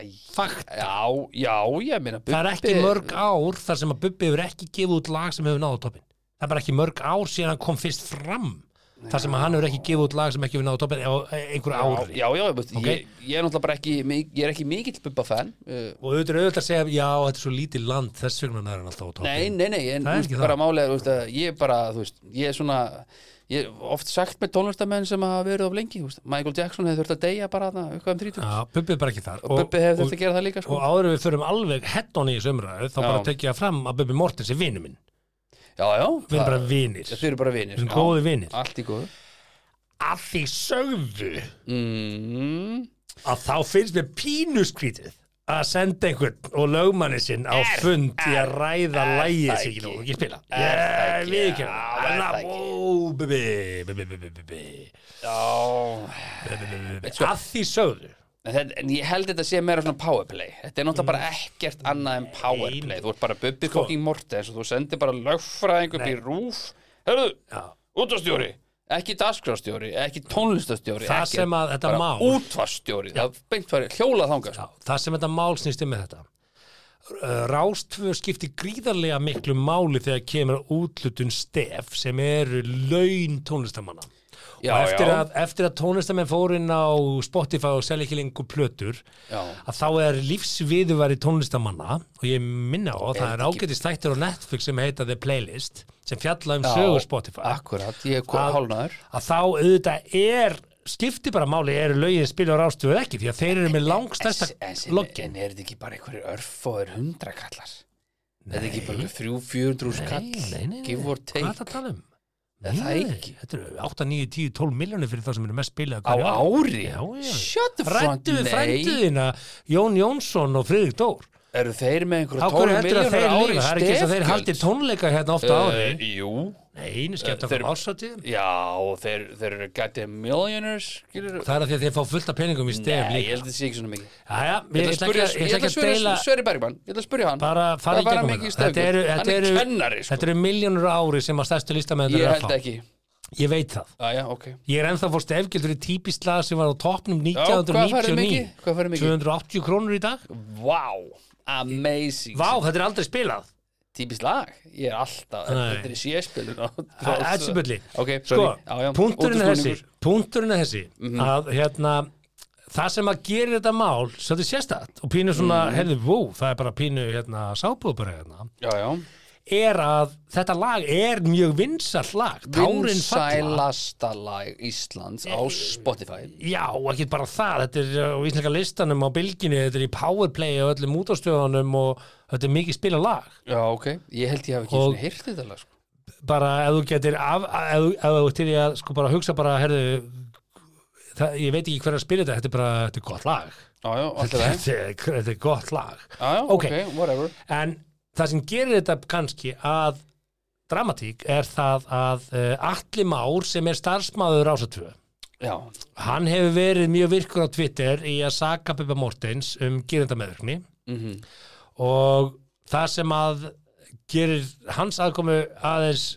Æ, fakta já, já, ég meina það er ekki Bubbi- mörg ár þar sem að Bubi hefur ekki gefið út lag sem hefur náðu toppin það er bara ekki mörg ár síðan hann kom fyrst fram þar sem að hann hefur ekki gefið út lag sem ekki hefur náðu toppin á einhverju ári Já, já, ég, Ok. ég, ég er náttúrulega bara ekki mik- ég er ekki mikill bubba fan uh, og auðvitað er auðvitað að segja já, þetta er svo lítið land þess vegna er hann alltaf á toppin Nei, nei, nei, en Það er þú veist, ekki bara það. málega, þú veist, að ég er bara, þú veist, ég er svona, ég er oft sagt með tónlistamenn sem hafa verið of lengi, þú veist, Michael Jackson hefði þurft að deyja bara þarna, eitthvað um 30, Já, Bubbi er bara ekki þar og Bubbi hefði þurft að gera það líka, sko. og áður en við förum alveg heddon í þessu umræðu þá Já. bara tekja fram að Bubbi Mortens er vinur minn Já, já, við erum það- bara vinir, þau eru bara vinir, við erum já. góði vinir allt í góðu. að því sögðu Mm, að þá finnst mér pínuskrítið að senda einhvern og lögmanni sinn á fund í að ræða lægið það sem ekki? ekki nógu ekki spila Er það ég ekki? við ekki Já, er það ekki? ó Bubbi Bubbi Bubbi Bubbi já, Bubbi að því sögðu en, þetta- en ég held þetta sé meira svona powerplay, þetta er náttúrulega bara ekkert annað en powerplay, þú ert bara Bubbi Mhm. Sko. fucking Mortens og þú sendir bara lögfræðing upp í rúf, herruðu, Já. útastjóri ekki dagskrástjóri, ekki tónlistastjóri ekki, Það sem að þetta bara mál- útvarstjóri, það beint farið hjólað þangað sko. Já, það sem þetta mál snýst um með þetta Rástfö skipti gríðarlega miklu máli þegar kemur að útlutun stef sem eru laun tónlistamanna Já, og eftir já. að, eftir að tónlistamenn fóru inn á Spotify og selja ekki lengur plötur Já. að þá er lífsviðuvari tónlistamanna og ég minna á, það þetta er ekki- ágætist þættir á Netflix sem heita The Playlist sem fjalla um Já, sögur Spotify akkurat, ég er hvað Að- hálnaður að þá auðvitað er skipti bara máli eru lögin spila á rástu eða ekki því að þeir eru með langstæsta en, loggin en er þetta ekki bara einhverju örf og er hundra kallar þetta er ekki bara þrjú, fjörundrús kall give or Hvað er það take að tala um? Er það Nei, ekki? Þetta eru 8, 9, 10, 12 miljónir fyrir það sem eru mest spilað á ári Já, já shut the front, Rættu við nei frænduðina Jón Jónsson og Friðrik Dór eru þeir með einhverju Sko, Á hverju tóra heldur að þeir miljónur ári lífa? Það er ekki eins og þeir haldi stefgjöld? tónleika hérna ofta ári Eh, jú, Nei, einu skemmt eh, að koma þeir- ásatíðum já, og þeir, þeir eru gætið millionaires skilur, Það er að því að þeir fá fullt af peningum í stef Nei, ég líka held að þetta sé ekki svona mikið Ég Jæja, ætla að ég ætla ekki spyrja, að- ég ég ætla að ætla ekki að spyrja deila Sverri Bergmann, ég ætla að spyrja hann bara fara í Það var gegnum hann ekki í þetta. stöðum. þetta eru, Hann þetta er eru, kennari, sko. þetta eru miljónur ári sem að stærstu listamenn Ég eru að held fá ekki ég veit það, Aja, ok ég er ennþá fór stefgildur í típist lag sem var á toppnum hvað farið mikið? 1999 Hvað farið mikið? 280 krónur í dag Vá, amazing Vá, þetta er aldrei spilað Típist lag, ég er alltaf Nei. Þetta er síðspilun Ætsibulli Ok, sko, sorry Já, já, punkturinn er þessi útúrsnúningur. punkturinn er þessi Mhm. að hérna það sem að gera þetta mál svo þetta sérstætt og pínu svona, Mhm. mm. heyrðu, vó, það er bara pínu hérna, sábúðbara hérna Já, já er að þetta lag er mjög vinsall lag tárin falla Vinsælasta lag Íslands á Spotify Já, ekki bara það, þetta er á íslenska listanum á bylginni, þetta er í powerplay og öllum útastöðunum og þetta er mikið spila lag. Já, ok Ég held ég hef ekki Og- svona hýrt þetta lag sko. Bara ef þú getur, af, ef, þú- ef þú til í að sko bara hugsa bara, herðu, það, ég veit ekki hver er að spila þetta, þetta er bara þetta er gott lag Já, já, alltaf það þetta er, þetta er gott lag Já, já, Ok. ok, whatever en það sem gerir þetta kannski að dramatík er það að uh, Atli Már sem er starfsmáður Rása 2 Já, hann hefur verið mjög virkur á Twitter í að saka Bubba Mortens um gerendamöðurkni mhm, og það sem að gerir hans aðkomu aðeins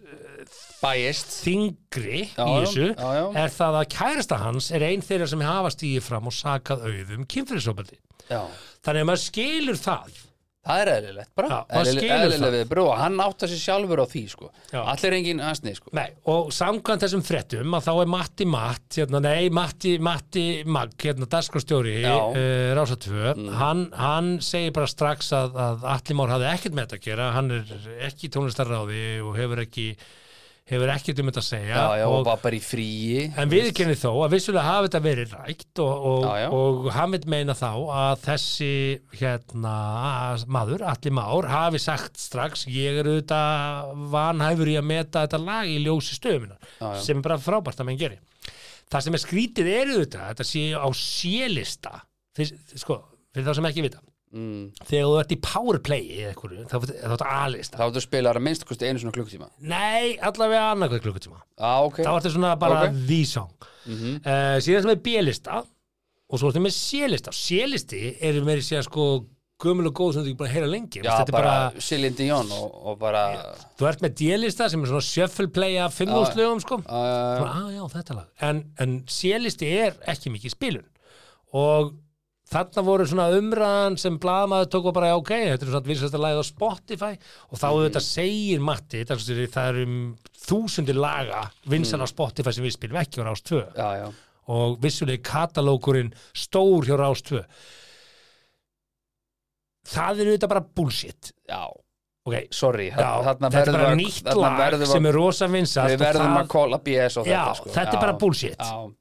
biased þingri Já, í já, þessu já, já. er það að kærasta hans er einn þeirra sem hafa stíði fram og sakað auðum kynfyrirsopaldi Já, þannig að maður skilur það það er eðlilegt bara Já, maður skilur það. við brú Hann áttar sig sjálfur á því, sko Já. Allir er engin hansni, sko Nei, og samkvæmt þessum fréttum að þá er Matti Matt, hérna, nei, Matti, Matti Mag, hérna, dagskrastjóri Já. Mm. uh, Rása 2, hann, hann segir bara strax að, að Atli Már hafði ekkert með þetta að gera, hann er ekki í tónlistarráði og hefur ekki hefur ekkert um þetta að segja Já, já, og og, bara bara í fríi en við kennum þó að vissulega hafi þetta verið rækt og, og, Já, já. og hann vil meina þá að þessi hérna maður, Atli Már, hafi sagt strax ég er auðvitað vanhæfur í að meta þetta lag í ljósi stöðumina Já, já. sem er bara frábært að menn geri það sem er skrítið er auðvitað þetta sé á sélista Fyrst- sko, fyrir þá sem ekki vita mm. þegar þú ert í powerplay eða einhverju, þá þá ertu A-lista Þá áttu spilar að minnst kosti einu svona klukkutíma nei, allavega annarkvæð klukkutíma Já, ok þá ertu svona bara Ok. Mhm. the song uh, síðan sem er B-lista og svo ertu með C-lista C-listi eru meiri sér sko gömul og góð sem þú ekki bara heyra lengi Já, Þetta er bara, bara Céline Dion og, og bara þú ert með D-lista sem er svona shuffle play af fimmúslögum sko uh, Svona, ah, já, þetta lag en, en C-listi er ekki mikið spilun og þarna voru svona umræðan sem blaðmaður tók og bara, já, ok, þetta er svona vinsasta lagið á Spotify og þá auðvitað segir Matti, dagstur, það eru um þúsundir laga vinsan á Spotify sem við spilum ekki á Rás 2 Já, já, og vissulega katalókurinn stór hjá Rás 2 það er auðvitað bara bullshit já ok, Sorry, já, þarna þetta er verður bara að- nýtt þarna lag verður að- sem er rosa vinsast Við verðum að kóla BS á Já, þetta sko. þetta er Já, bara bullshit. Já,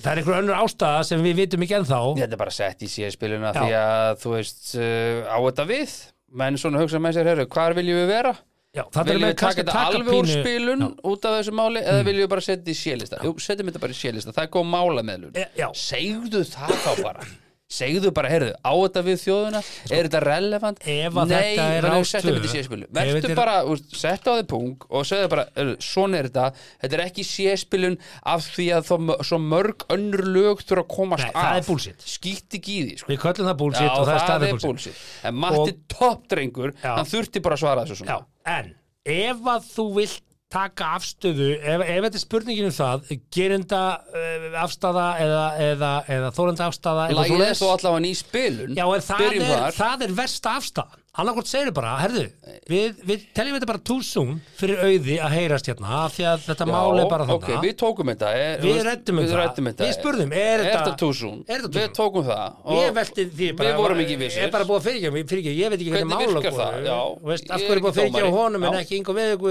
það er einhver önnur ástæða sem við vitum ekki ennþá Þetta er bara sett í síðspiluna Já. því að þú veist uh, á þetta við menn svona hugsa með sér, herru, hvar viljum við vera? Já, það er Viljum með við taka kannski þetta alveg úr spilun út af þessu máli Mm. eða viljum við bara setja þetta í sélista? Jú, setjum þetta bara í sélista, það er góð málameðlun E- já. Segðu það þá bara Segðu bara, herru, á þetta við þjóðuna Er þetta relevant? Sko, Ef að Nei, þetta er verðum við Rás settum tvö, þetta í síðspilu ef þetta Vertu er- bara, úst, settu á þið punkt og segðu bara, heyrðu, svona er þetta Þetta er ekki síðspilun af því að þó, svo mörg önnur lög þurfa að komast Nei, af það er bullshit. Skýtt ekki í því, sko við köllum það Já, bullshit og það er staðið bullshit, En Matti Og- toppdrengur, Já. hann þurfti bara að svara þessu svona Já, en ef að þú vilt taka afstöðu, ef, ef þetta er spurningin um það, gerinda uh, afstæða eða, eða, eða þólenda afstæða eitthvað Lægið er svoleiðis. þó allavega ný spilun Já, en það Byrjum er, þar. það er versta afstæðan annarkvort segir bara, herðu við, við teljum þetta bara too soon fyrir auði að heyrast hérna, af því að þetta mál er bara ok, þannig við tókum þetta er, Við þú veist, ræddum um við það. ræddum þetta Við spurðum, er er þetta- þetta túsún er þetta við 2000? tókum það og ég velti því bara við vorum ekki vissir er bara búið að fyrirgja, mig, fyrirgja, ég veit ekki hvernig Hvernig mála virkar voru. það? Já, Þú veist, af ég er hverju er búið að ekki fyrirgja dómari. honum en Já. ekki yngu við hver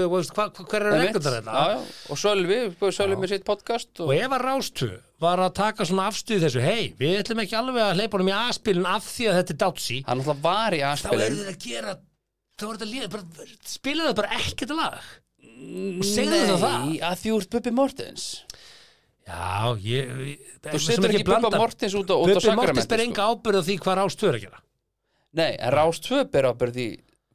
Einmitt. eru reglum þetta Já, já. og Sölvi, Sölvi með sitt podcast hérna. og og, ef að Rástu var að taka svona afstuð þessu, hei, við ætlum ekki alveg að hleypa honum í aðspilin af því að þetta er dátsi hann alltaf var í þá eru aðspilun þeir að gera þá eru þetta að liða, bara, spila það bara ekkert lag og segðu það það að því úr Bubbi Mortens Já, ég, ég þú setur ekki Bubba Mortens út á, sko. út á Bubbi sakramenti Mortis ber enga ábyrð á því hvað Rástu er að gera Nei, en Rás 2 ber ábyrð í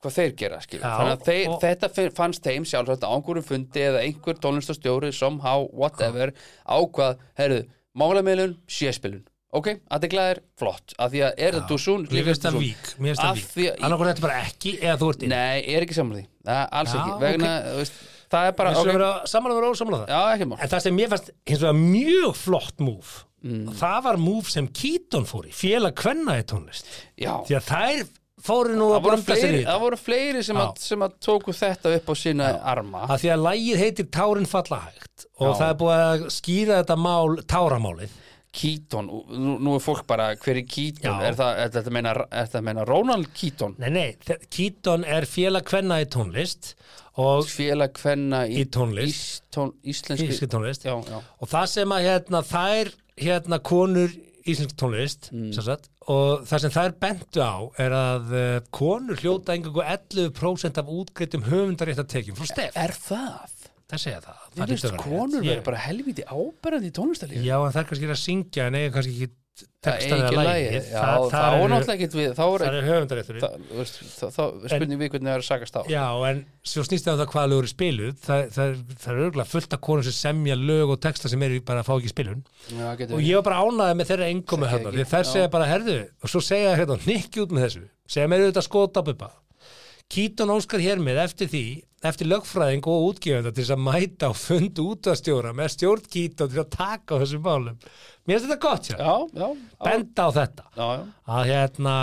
hvað þeir gera, skilur. Já, Þannig að þeir, og- þetta fe- fannst þeim sjálfsagt á einhverjum fundi eða einhver tónlistastjóri, somehow, whatever, ákvað, heyrðu, málamiðlun, séspilun. Ok, aðeiglaðir, flott. Af því að er þetta þú sún, Mér finnst það vík, mér finnst Af það því vík að- Annarkur þetta er bara ekki eða þú ert inn Nei, ég er ekki sammála því. Það, alls Já, ekki. Vegna, þú veist, það er bara, Við ok, skulum vera samanlega vera ósamlega það já, ekki mál. En það sem mér fannst hins vegar mjög flott múf Mm. það var múf sem Keaton fór í félag kvenna í tónlist Já, því að þær fóru nú það að voru blanda sér í fleiri, þetta það voru fleiri sem, að, sem að tóku þetta upp á sína arma. að því að lægið heitir Tárin falla hægt og Já. það er búið að skýra þetta mál táramálið Keaton, nú, nú er fólk bara, hver er Keaton? Já. Er, það, er, þetta að meina, er þetta að meina Ronald Keaton? Nei, nei, þe- Keaton er félag kvenna í tónlist og, félag kvenna í, Í tónlist. ís, tón, íslenski íslenski tónlist já, já. og það sem að hérna, þær hérna, konur íslenski tónlist Mm. sem sagt, og það sem þær bentu á er að uh, konur hljóta engangu 11% af útgreitum höfundarétta frá stef er það? það segja það það Mér hlýtur finnst að vera konur rétt. verið bara helviti áberandi í tónlistalífi. já, en það er kannski að syngja en eiga kannski ekki Það er textaðið ekki að lægi, lægi já, það er náttúrulega ekkert við, þá er það er höfundarétturinn það, þú veist, þá- þá spurning við hvernig það er að sakast á Já, en svo snýst það um það hvaða lögur er spiluð það, það, það er örgulega fullt af konum sem semja lög og texta sem eru bara að fá ekki spilun Já, getur og verið. ég var bara ánaðið með þeirra engum Segja hérna, ekki, því þær já. segja bara herðu og svo segja þær hérna, nikki út með þessu segja mér auðvitað skota bubba Kíton Óskar hér með eftir því eftir lögfræðing og útgefenda til þess að mæta og fund útastjóra með stjórn Kíton til að taka á þessum málum Mér finnst þetta gott, já, já, já, já, benda á þetta já, já. að hérna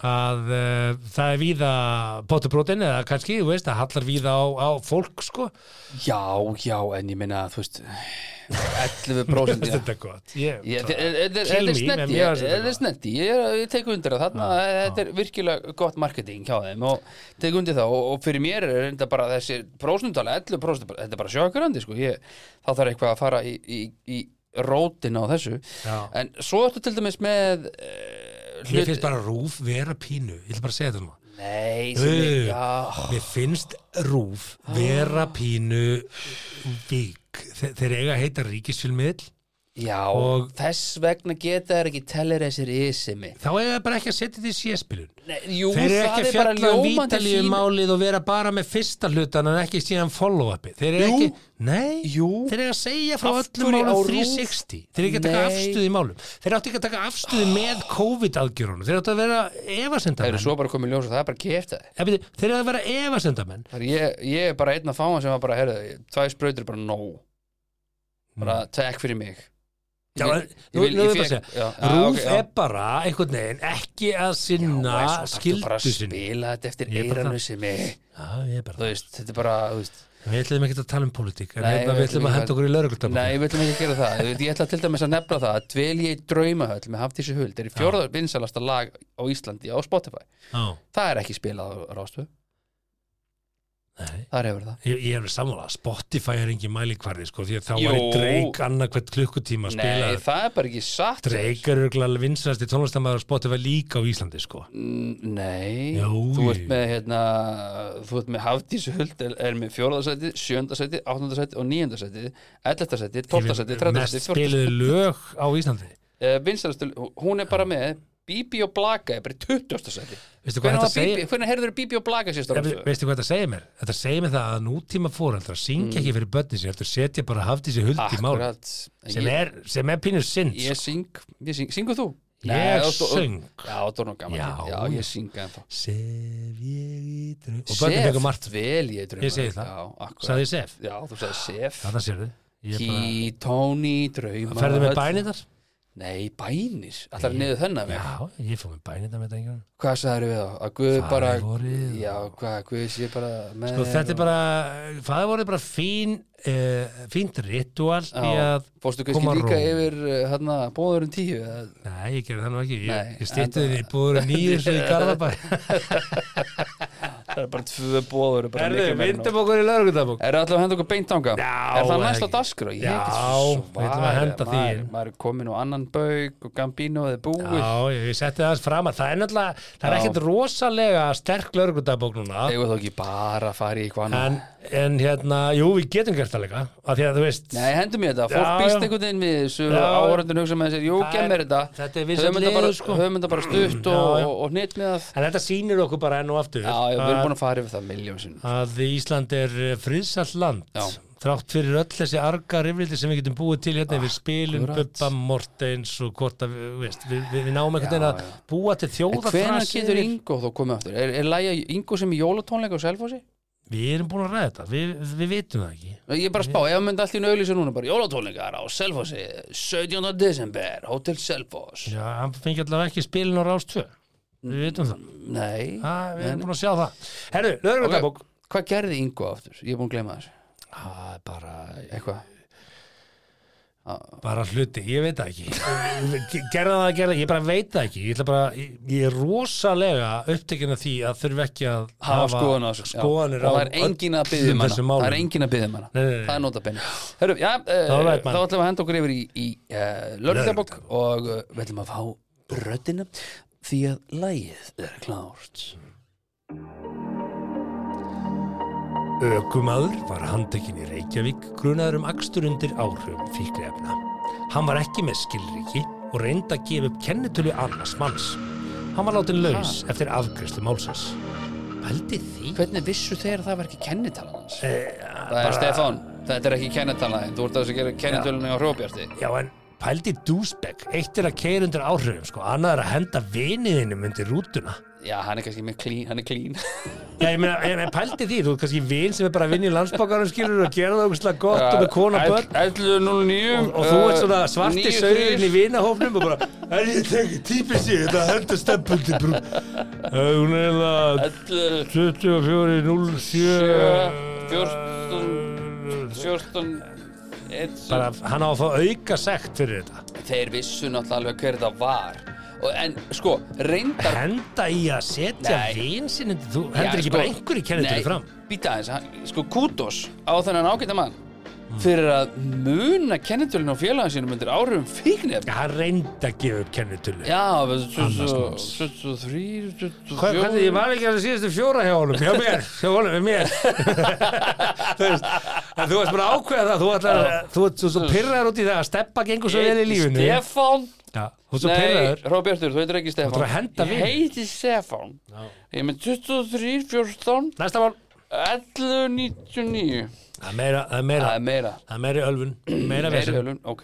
að uh, það er víða potubrótin eða kannski, þú veist, það hallar víða á, á fólk, sko Já, já, en ég minna, þú veist 11% Mér já. finnst þetta gott ég, Ég- þe- þe- þe- Kill Þetta er me, snendi, en mér ég- finnst þetta þetta er gott. snendi Ég, er- ég tek undir það, þarna þetta er virkilega gott marketing hjá þeim og tek undir það og, og fyrir mér er þetta bara þessi prósundala 11% bara- þetta er bara sjökarandi sko ég, þá þarf eitthvað að fara í, í, í rótin á þessu Já. en svo ertu til dæmis með uh, Mér finnst bara rúf vera pínu Ég ætla bara að segja þetta nú Nei, sem ég, Ugh. já Ah. Mér finnst rúf vera pínu vík Þe, Þeir eiga að heita ríkisfilmiðl Já, Og- þess vegna geta þær ekki teller þessir isimi Þá eiga það bara ekki að setja þetta í séspilun Nei, Jú, Þeir eru það ekki að er bara fjalla um ljómandi vítalíu sín málið og vera bara með fyrsta hlutan en ekki síðan follow-upi Þeir eru Jú. ekki, nei, Jú. þeir eru að segja frá Af öllum hverju á málum RÚV? 360 Þeir eru ekki að taka Nei. afstöðu í málum Þeir áttu ekki að taka afstöðu með COVID-aðgjörunum Þeir áttu að vera Það eru efasendamenn svo bara komið ljós og það er bara kefta Ég byrja, Þeir eru að vera efasendamenn ég, ég er bara einn að fáan sem var bara herðu, tvæ sprautur er bara no bara takk fyrir mig Mm. Já, en nú- nú er bara að segja, Rúf er bara einhvern veginn ekki að sinna skildu skildu sinni spila þetta eftir Ég er bara eiranu það. sem er Já, ég er bara þú veist, þetta er bara þú veist, Við ætlum ekki að tala um pólitík en Nei, hérna við við ætlum ætlum að ekki henda að- okkur í nei, lauruglutabakum við ætlum ekki að gera það Þú veist, ég ætla til dæmis að nefna það að dvel ég í draumahöll með Hafdísi Huld er í fjórða vinsalasta lag á Íslandi á Spotify það er ekki spilað á Rástu Nei þar hefur það Ég, ég er við sammála, Spotify er engin mælikvarði sko, því að þá Jú. var í Drake annað hvert klukkutíma að spila Nei, Nei, það er bara ekki satt Drake er örgulega vinsræsti tónlistamæður Spotify líka á Íslandi sko. Mm, Nei, Jú, þú jú. ert með hérna, þú ert með Hafdís Huld er, er með fjóraðarsæti, sjöndasæti, áttundasæti og níundasæti, ellertasæti, tólftasæti, mest þrættasæti, spiluðu fjórtasæti lög á Íslandi uh, Vinstalastu, hún er bara með Bíbi og Blaka er bara í tuttjóstasæti Veistu Hvernig, hvað þetta var Bíbí- segir? hvernig heyrður Bíbi og Blaka sérst á Ég, rámstöðu? veistu hvað þetta segir mér? Þetta segir mér það að nútíma fóreldra syngja ekki fyrir börnin sér, heldur setja bara hafði sér huld í mál Mm. Akkurat sem Ég- er, sem er pínur synd Ég sko. syng, ég syng, syngur þú? Ég þú- þú- söng. Já, þú er nú gaman Já, Já, ég- ég syng en þá Sef ég í dröð og börnin Sef fengur margt vel ég drauma Ég segi það. Já, akkurat sagði ég sef, Já, þú sagði Sef þannig sérðu Ég bara, Ký, tóni, drauma ferðu með öll- bænitar? Nei, bænir, allar niður þennan mig Já, ég fór með bænitar með þetta engan Hvað sagður við þá? Að Guð Far bara vorið. Já, hvað, Guð sé bara með Sko þetta er bara, það voru bara fín, uh, fínt ritual í að Fórstu koma kannski líka ró. yfir uh, hérna, bóðurinn tíu eða- Nei, ég gerði það nú ekki, ég, Nei, ég stýtti en- þér í búður nýjur svo í Garðabæ Það er bara tvö bóður Erðu, vindum okkur í laurugutabók Er það alltaf að henda okkur beint ánga? Já, Er það það næst á ekki. dagskrá? Ég Já, get við ætlum að henda því maður, inn. maður er komin á annan baug og Gambinoðið búið Já, ég ég setti það aðeins framar, það er náttúrulega, það er Já. Eh, ekkert rosalega sterk laurugutabók núna Eða þá ekki bara að fara í eitthvað annað en, en hérna, jú, við getum gert það líka, af því að þú veist Nei, hendum ég þetta, fólk Já, býst já. einhvern veginn við þessu Já, já. áhörðin hugsa með þessir, jú, Það er- gemmer þetta þetta er vinsæll Höfum þetta bara, liður, sko. höfum þetta bara stutt og, já. og, og hnýtt með það En þetta sýnir okkur bara enn og aftur Já, já, við erum að- búin að fara yfir það miljón sinn að Ísland er friðsall land Já. þrátt fyrir öll þessi arga rifrildi sem við getum búið til hérna við spilum Ah, Akkurat. Bubba Mortens og hvort að við, veist, við, við, við náum einhvern Já, veginn að já. búa til En þjóða hvenær getur Ingo þó komið aftur? Er, er lægja Ingo sem í jólatónleika á Selfossi? við erum búin að ræða þetta, við, við vitum það ekki Ég er bara að spá, ef hann myndi allt í nöðlýsa núna bara jólatónleikar á Selfossi 17. desember, Hotel Selfoss Já, hann fengi allavega ekki spilin á Rás 2 við vitum það, Nei, ha, Mm. við Nei. erum búin að sjá það Herru, lögreglabók okay. hvað gerði Ingo aftur? Ég er búin að gleyma þessu, Ah, bara, eitthvað bara hluti, ég veit það ekki gerða það, gerða, ég bara veit það ekki ég, ætla bara, ég, ég er rosalega upptekinn af því að þurfi ekki að hafa skoðan á þessu já. skoðanir og á það er engin að byggja öllum um hana þessum það málum. er engin að byggja um hana Nei, nei, nei. það er notabenni Heru, já, uh, All right, man. þá ætlum við að henda okkur yfir í, í uh, lörðabokk og uh, við ætlum að fá röddina því að lægið er klárt Ökumaður var handtekinn í Reykjavík grunaður um akstur undir áhrifum fíkriefna. Hann var ekki með skilriki og reyndi að gefa upp kennitölu annars manns. Hann var látin laus eftir afgriðslu málsins. Pældi því? Hvernig vissu þeir að það var ekki kennitalan hans? Eh, Það er Stefán, þetta er ekki kennetalæðin Þú ert að þessu gera kennetölunni á Hróbjarti Já, en pældi dúsbegg. Eitt er að keira undir áhrifum, sko. Annað er að henda viniðinum undir rútuna. Já, hann er kannski með clean, hann er clean Já, ég meina, en, en pældi því, þú er kannski vin sem er bara að vinna í landsbókarum skilur og gera það ógustlega gott og með kona og börn. 11.09 og, og þú ert svona eh, svarti saurinn í vinahófnum og bara, er ég tekið típist ég þetta hendur stempundi brú hún er það 11, 24 7, 14, 14 1, bara hann á að fá auka sekt fyrir þetta Þeir vissu náttúrulega alveg hver það var og, En sko, reyndar henda í að setja Nei. vinsinn þú Já, hendur ekki sko, bara einhverju kennitölu nei, fram Býta aðeins, hann- sko kútos á þennan ágæta mann fyrir að muna kennitölun á félagin sínum undir áhrifum fíknef Já, hann reyndi að gefa upp kennitölu Já, við- Annars 23, manns. 24 Hvað, hvernig, ég var ekki að það síðustu fjóra hjá honum, hjá mér, hjá honum, hjá mér. þú veist, en þú veist bara að ákveða það, þú ætlar, að- þú ert svo, svo pyrraður út í það að steppa gengur svo vel í lífinu. Stefán Já, þú ert svo Nei, pyrraður. Róbjartur, þú heitir ekki Stefán ætlar að henda Ég vin. heiti Stefán Já. Ég er með 23, 14 Næsta mál. 11, 99 Það er meira, það er meira, Það er meira það er meira ölfun, meira Meiri vesum. hölun, ok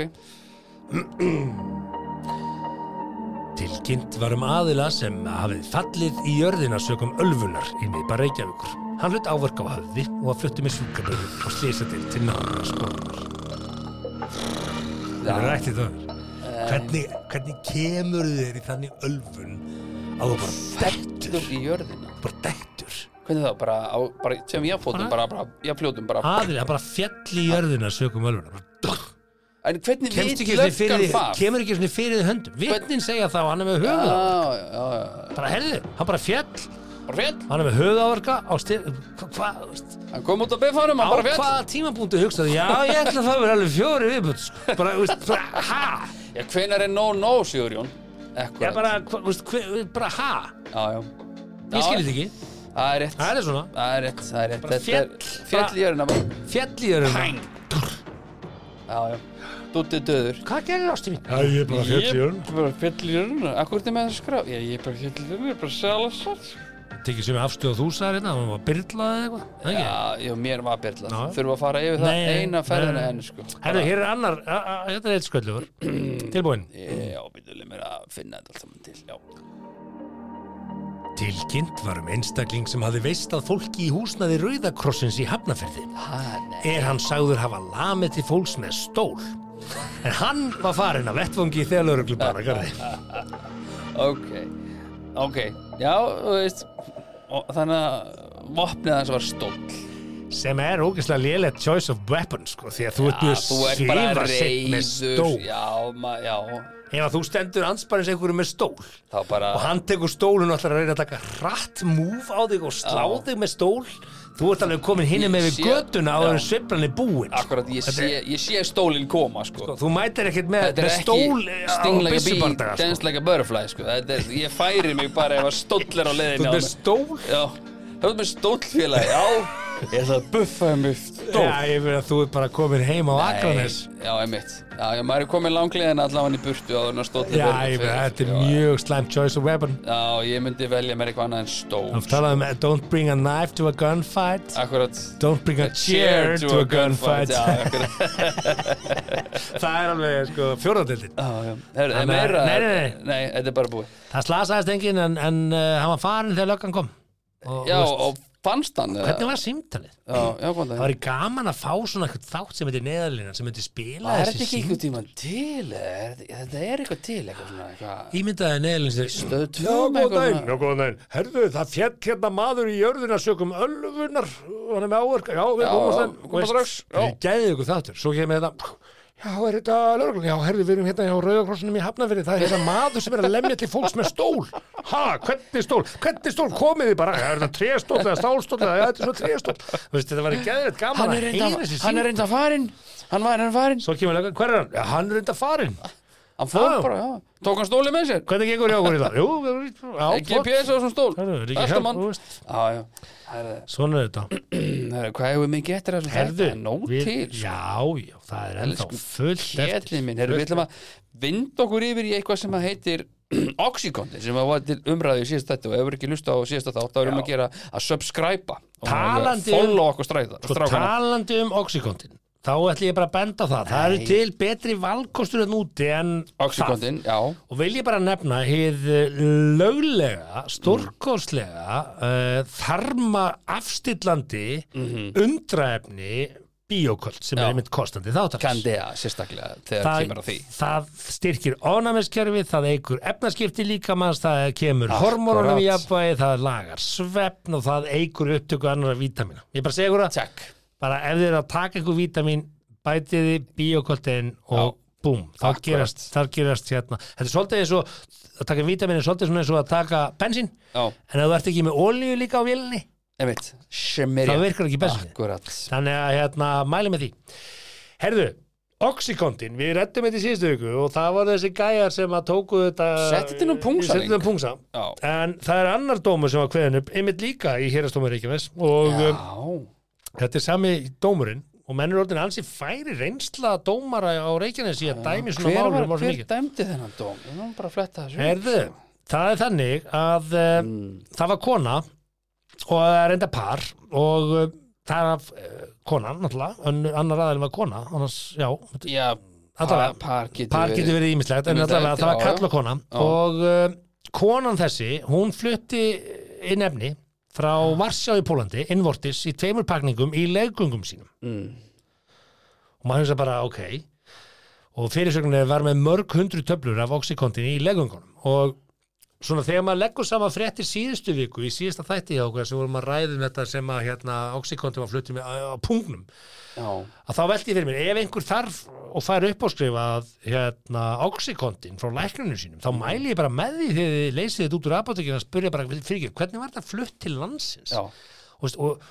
Tilkynnt var um aðila sem hafið fallið í jörðina sögum ölfunar í miðbar Reykjavíkur. Hann hlut áverk á höfði og að fluttu með sjúkaböðu og slýsa til til nára spórunar. Það er rætt í það. Hvernig, hvernig kemur þér í þannig ölfun að þú bara dettur, Dettur í jörðina bara dettur? Hvernig þá, bara, á, bara sem jáfljótum bara, bara, jáfljótum bara Aðila bara fjall í jörðina sögum ölfunar. Bara En hvernig kemst við ekki svona fyrir löggan því, það? kemur ekki svona fyrir því höndum vitnin segja þá, hann er með Já, höfuð já, já, já bara herðu, hann bara fjall Bara fjall, hann er með höfuðáverka á styr hva, hva, þú veist, hann kom út á befanum, á hann bara fjall hvaða tímabúntu hugsaði, já ég ætla að það verið alveg fjóri viðbútt sko. bara, þú veist, bara, ha Já, hvenær er no no, Sigurjón? já, Ekkur, bara, hva, þú veist, hve, bara, ha já, já Já, ég skil þetta ekki, Það er rétt, það er svona það er rétt, það er rétt Bara Þetta er féll, bara- fjall í jörðina bara fjall í jörðum, Já, já, dúttið döður hvað gerir ástu mín Já, ég er bara Ég bara fjall í jörðina, akkur er með það skrá Já, ég er bara fjall í jörðina, ég er bara sko. sæla svart tekið sem afstöð og þú sagði hérna, hann var byrlaði eða eitthvað það ekki? Já, já, mér var byrla Já. Þurfa að fara yfir það Nei, eina ferðina nei. enn, sko Herðu, hér er annar, a- a- þetta er eitt sköllur tilbúin Já, býtuleg mér að finna þetta allt saman til Já, Tilkynnt var um einstakling sem hafði veist að fólki í húsnaði Rauðakrossins í Hafnarferði. hann er Er hann sagður hafa lamið til fólks með stól? En hann var farinn af vettvangi þegar lögreglu bara garði. Ok, ok, já, þú veist og, Þannig að vopnið hans var stóll Sem er ógeðslega lélegt choice of weapons, sko, því að þú ert Já, mjög Þú ert bara svifa sitt með reyður stól. Já, ma, já Ef að þú stendur ansparins einhverju með stól Þá bara og hann tekur stólun og ætlar að reyna að taka hratt múf á þig og slá Já. þig með stól, þú ert alveg komin hinn með við Ég sé- göttuna á Já. þeirra sveiflan er búin. sko. Akkurat, ég Þetta sé, ég sé stólinn koma, sko Sko, Þú mætir ekkert með, Þetta með er stól eh, ekki á sting like a bee, byssubardaga sko. dance like a butterfly, sko Þetta er, Ég færi mig bara ef að stóll er á Þú leiðinni ert á með mig. stól Já, þú ert með stóllfélagi, já Ég ætla að buffaði mig Já, stóll ég verið að þú ert bara komin heim á Akranes Nei, Já, einmitt Já, já, maður er komið langlegin allavega í burtu áður en að stóllinn Já, fer- ég verið fer- að þetta er Já, já. mjög slæmt choice of weapon Já, ég myndi velja mér eitthvað annað en stól Þú talaði um eh, don't bring a knife to a gunfight Akkurat Don't bring a chair to a gunfight Já, akkurat Það er alveg sko fjórðatildin Já, já Herru, er Þannig að- meira Nei, nei, nei. Nei, þetta er bara búið Það slasaðist enginn en, en uh, hann var farin þegar löggan kom og, Já, þú veist, og fannst hann eða? Hvernig var símtalið? Já, já, góðan Það dag var gaman að fá svona eitthvað þátt sem heitir neðarlina sem heitir spila Það er þetta þessi ekki símtalið einhvern tíma til eða er þetta- Þetta er eitthvað til eitthvað svona eitthvað Ímyndaði neðarlina sem Stöð Já, tvöum góðan daginn, já, góðan daginn. Herðu, það fjall hérna maður í jörðina sögum ölvunar, hann er með áverka, já, við Já, komum já, þeim. komum strax, já. Við gæðið ykkur þáttur, svo kemur þetta, já, er þetta lögreglun, já, herðu, við erum hérna hjá Rauðakrossunum í Hafnafyrði, það er hérna maður sem er að lemja til fólks með stól. Ha, hvernig stól, hvernig stól, komið þið bara, já, er þetta tréstól eða stálstól eða já, þetta er svona tréstól. Þú veist, þetta var gæðið Hann gaman er að heyra þessi reynda Hann er reynda farinn Hann var hann farinn Svo kemur löggan, hver er hann? Já, hann er reynda farinn. Hann fór Já. bara, já, tók hann stóli með sér Hvernig gengur hjá okkur í dag? Jú, já, flott GPS á þessum stól Hörðu, líka Alltaf hjálp, mann þú Já, veist. já Það er- Svona er þetta það er- Hvað hefur við mikið eftir af þessum þætti? Herðu Það er nóg við- til sko. Já, já, það er ennþá Elsku fullt eftir Kjellin minn, herru, við Fullt ætlum að vinda okkur yfir í eitthvað sem að heitir Oxycontin sem að var til umræðu í síðast þetta og ef við ekki lusta á síðast þetta þá erum við að gera að subscriba og Talandi um- follow okkur stræða Sko talandi um Oxycontin Þá ætlum ég bara að benda á það Það eru til betri valkostur en úti en það Oxycontin, já Og vil ég bara nefna hið eh, löglega, Mm. stórkoslega, uh, þarma afstillandi undraefni bíóköld sem Mhm. Já. er einmitt kostandi þáttarins. Candea sérstaklega þegar kemur að því það styrkir ónæmiskerfi, það eigur efnaskipti líkamanns, það kemur hormónunum í Akkurat. jafnvægi, það lagar svefn og það eigur upptöku annara vítamina. Ég bara segi ykkur að Takk, bara ef þið eru að taka ykkur vítamin bætiði bíokoltin og búm, þá Akkurat. gerast, þar gerast hérna, þetta er svolítið eins og að taka vítamin er svolítið svona eins og að taka bensín já, en ef þú ert ekki með olíu líka á vélinni einmitt Shemiri Það virkar ekki bensínið. Akkurat þannig að hérna, mæli með því Herðu, Oxycontin, við rettum þetta í síðustu viku og það var þessi gæjar sem að tóku þetta Settu þetta nú pungsa, Settu þetta nú pungsa. Já, En það er annar dómur sem var kveðin upp einmitt líka í hérastómur Reykjavík og já, um, þetta er sami dómurinn og menn er orðin ansi færi reynsla dómara á Reykjanes í að dæmi svona hver, málum var, orðin hver mikið. dæmdi þennan dóm? Við erum bara að fletta þessu Herðu, það er þannig að uh, það var kona og það er enda par og uh, það er uh, kona náttúrulega, önn, annar aðeilin var kona annars, já, Já, par, Allavega, par getur par getur verið ímislegt en Ýmislegt, allavega það var já, kall já. og kona Já. og uh, konan þessi, hún flutti inn efni frá Varsjá í Pólandi, innvortis í tveimur pakningum í leggungum sínum Mm. og maður hefði bara, ok og fyrirsögnir var með mörg hundru töflur af oxykontin í leggungunum og svona þegar maður leggur saman fréttir síðustu viku, í síðasta þætti hjá okkur sem vorum að ræðum þetta sem að hérna, oxykontin var fluttið með á, á pungnum Já, að þá velti ég fyrir mér, ef einhver þarf og fær upp á skrifað hérna, oxykontin frá læknunum sínum Mm. þá mæli ég bara með því þegar þið leysið þetta út úr apotekinu að spyrja bara fyrir ekki, hvernig var þetta flutt til landsins já, og, veist, og,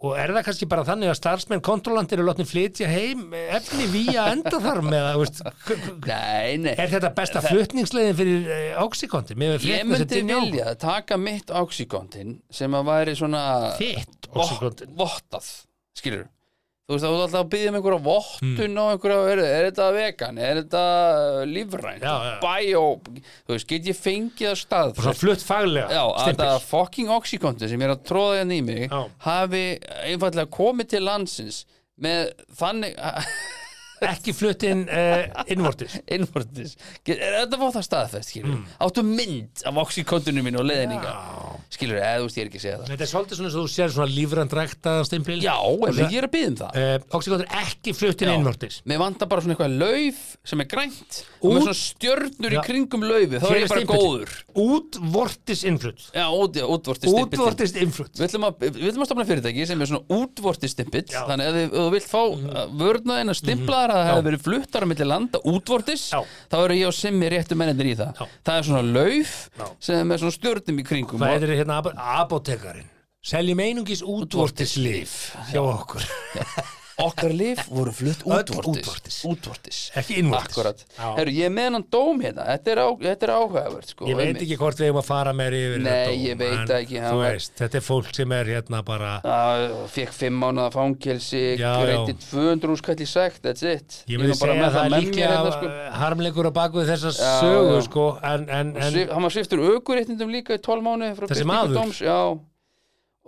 og er það kannski bara þannig að starfsmenn kontrolandir eru látni flytja heim efni vía endaþarm eða, þú veist, k- k- nei, nei er þetta besta flutningsleiðin fyrir eh, oxykontin? Mér hefur Ég frétt með myndi þetta vilja taka mitt oxykontin sem að væri svona Þitt vott- oxykontin vottað, skilur þú veist að þú ert alltaf að byggja um einhverja Hmm. vottun og einhverja, er, er þetta vegan er þetta uh, lífrænt Já, já. bio, þú veist, get ég fengið að stað og svo flutt faglega Já, að stimpil. þetta fucking oxykontin sem ég er að tróða hérna í mig Já. hafi einfallega komið til landsins með þannig ekki fluttin uh, innvortis innvortis Get- er þetta var það staðfest, skilur Mm. áttu mynd af oxykontinu mínu og leðninga skilur, eða þú veist, ég er ekki að segja það Þetta er svolítið svona eins og þú sér svona lífrandrækta stimpil. Já, en það- ég er að byggja um það Uh, Oxycontin er ekki fluttin Já. innvortis. Mér vantar bara svona eitthvað lauf sem er grænt og með Út- svona stjörnur Já. í kringum laufi þá er ég bara góður Útvortis innflutt. Já, út, já, útvortis stimpillinn. Útvortis innflutt. Við ætlum, að, við ætlum að stofna fyrirtæki sem er svona útvortis stimpill þannig að ef þú vilt fá Mhm. mm. vörnaðina stimplaðar að það hefur verið fluttar á milli landa útvortis, Já. þá eru ég og simmi réttu mennir í það. Já. Það er svona lauf Já. sem er svona stjörnum í kringum Hvað og, er hérna abo- apotekarinn? Seljum einungis útvortis líf hjá okkur. okkar lif voru flutt Öll útvortis útvortis. útvortis. Ekki innvortis. Akkurat. Já. Herru, ég er með hann dóm hérna, þetta er, á, þetta er áhugavert sko. Ég veit ekki hvort við hefum að fara meir yfir Nei, þetta. ég veit en ekki, hann Þú var- veist, þetta er fólk sem er hérna bara... Fekk fimm mánuða fangelsi, Já, já. reyndi 200 úrskall í sekt, that's it. Ég er myndi nú bara segja með að það er með mér líklega hérna, sko. harmleikur á baku þessar Já, sögu, já. sko, en, en, en Svif, hann var sviftur aukuréttindum líka í 12 mánu frá birtingu Þessi maður? dóms, já,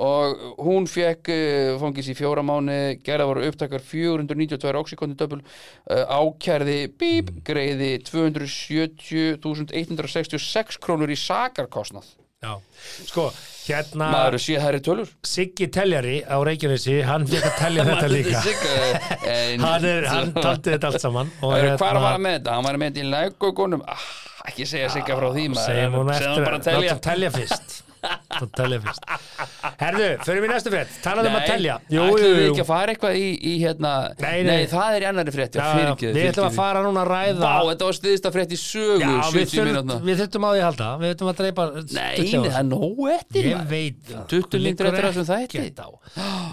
og hún fekk uh, fangis í fjóra mánu gerða voru upptakar 492 oxykondi döpul uh, ákærði bíp, Mm. greiði 270.166 krónur í sakarkostnað já, sko, hérna... maður sé það er tölur Siggi Teljari á Reykjanesi hann fekk að telja þetta líka eh, hann, er, hann taldi þetta allt saman og Hvað var hérna, hann með þetta? Hann var með þetta í lægugunum ah, Ekki segja sigga frá því maður segjum hún Segðu eftir bara að að- telja látum telja fyrst Látum telja fyrst herðu, förum við næstu frétt talaðum að telja jú, ætlum við ekki að fara eitthvað í, í hérna Nei, nei. það er í annari frétt Já, já, við ætlum að fara núna að ræða Vá, þetta var stiðista frétt í sögu Já, við 70 mínútna þurftum- við þurftum á því að halda við þurftum að dreipa Nei, stuttlega á nei, það þessu. er nóg eftir ég maður. veit það. 20 Liggur lindur eftir þessum ekkert þætti á.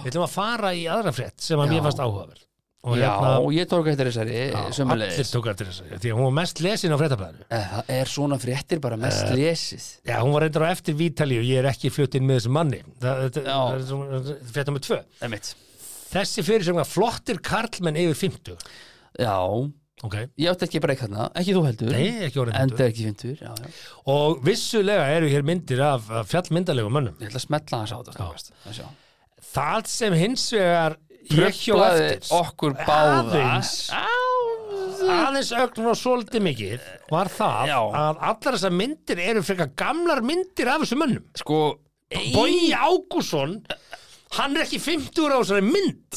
við ætlum að fara í aðra frétt sem að mér Já. fannst áhugaverð og Já, hérna, ég tók eftir þessari allir sömulegis tók eftir þessu því að hún var mest lesin á fréttablaðinu Eh, Það er svona fréttir bara mest Eh. lesið Já, hún var reyndar á eftir Vítali og ég er ekki flutt inn með þessum manni það, þetta- Já. það er svona- frétt nummer tvö Einmitt. Þessi fyrir sem var flottir karlmenn yfir 50 Já, Ok, ég átti ekki breyk hérna Ekki þú heldur nei, ekki orðin Enda 50 ekki fintur já, já. Og vissulega eru hér myndir af, af fjallmyndalegum mönnum Ég ætla að smetla hans á þetta snakast Það sem hins vegar ég hjó eftir okkur báða Aðeins. Á, aðeins ögnum og svolítið mikið var það Já. að allar þessar myndir eru frekar gamlar myndir af þessum mönnum Sko ein- Bogi Ágússon hann er ekki 50 á þessari mynd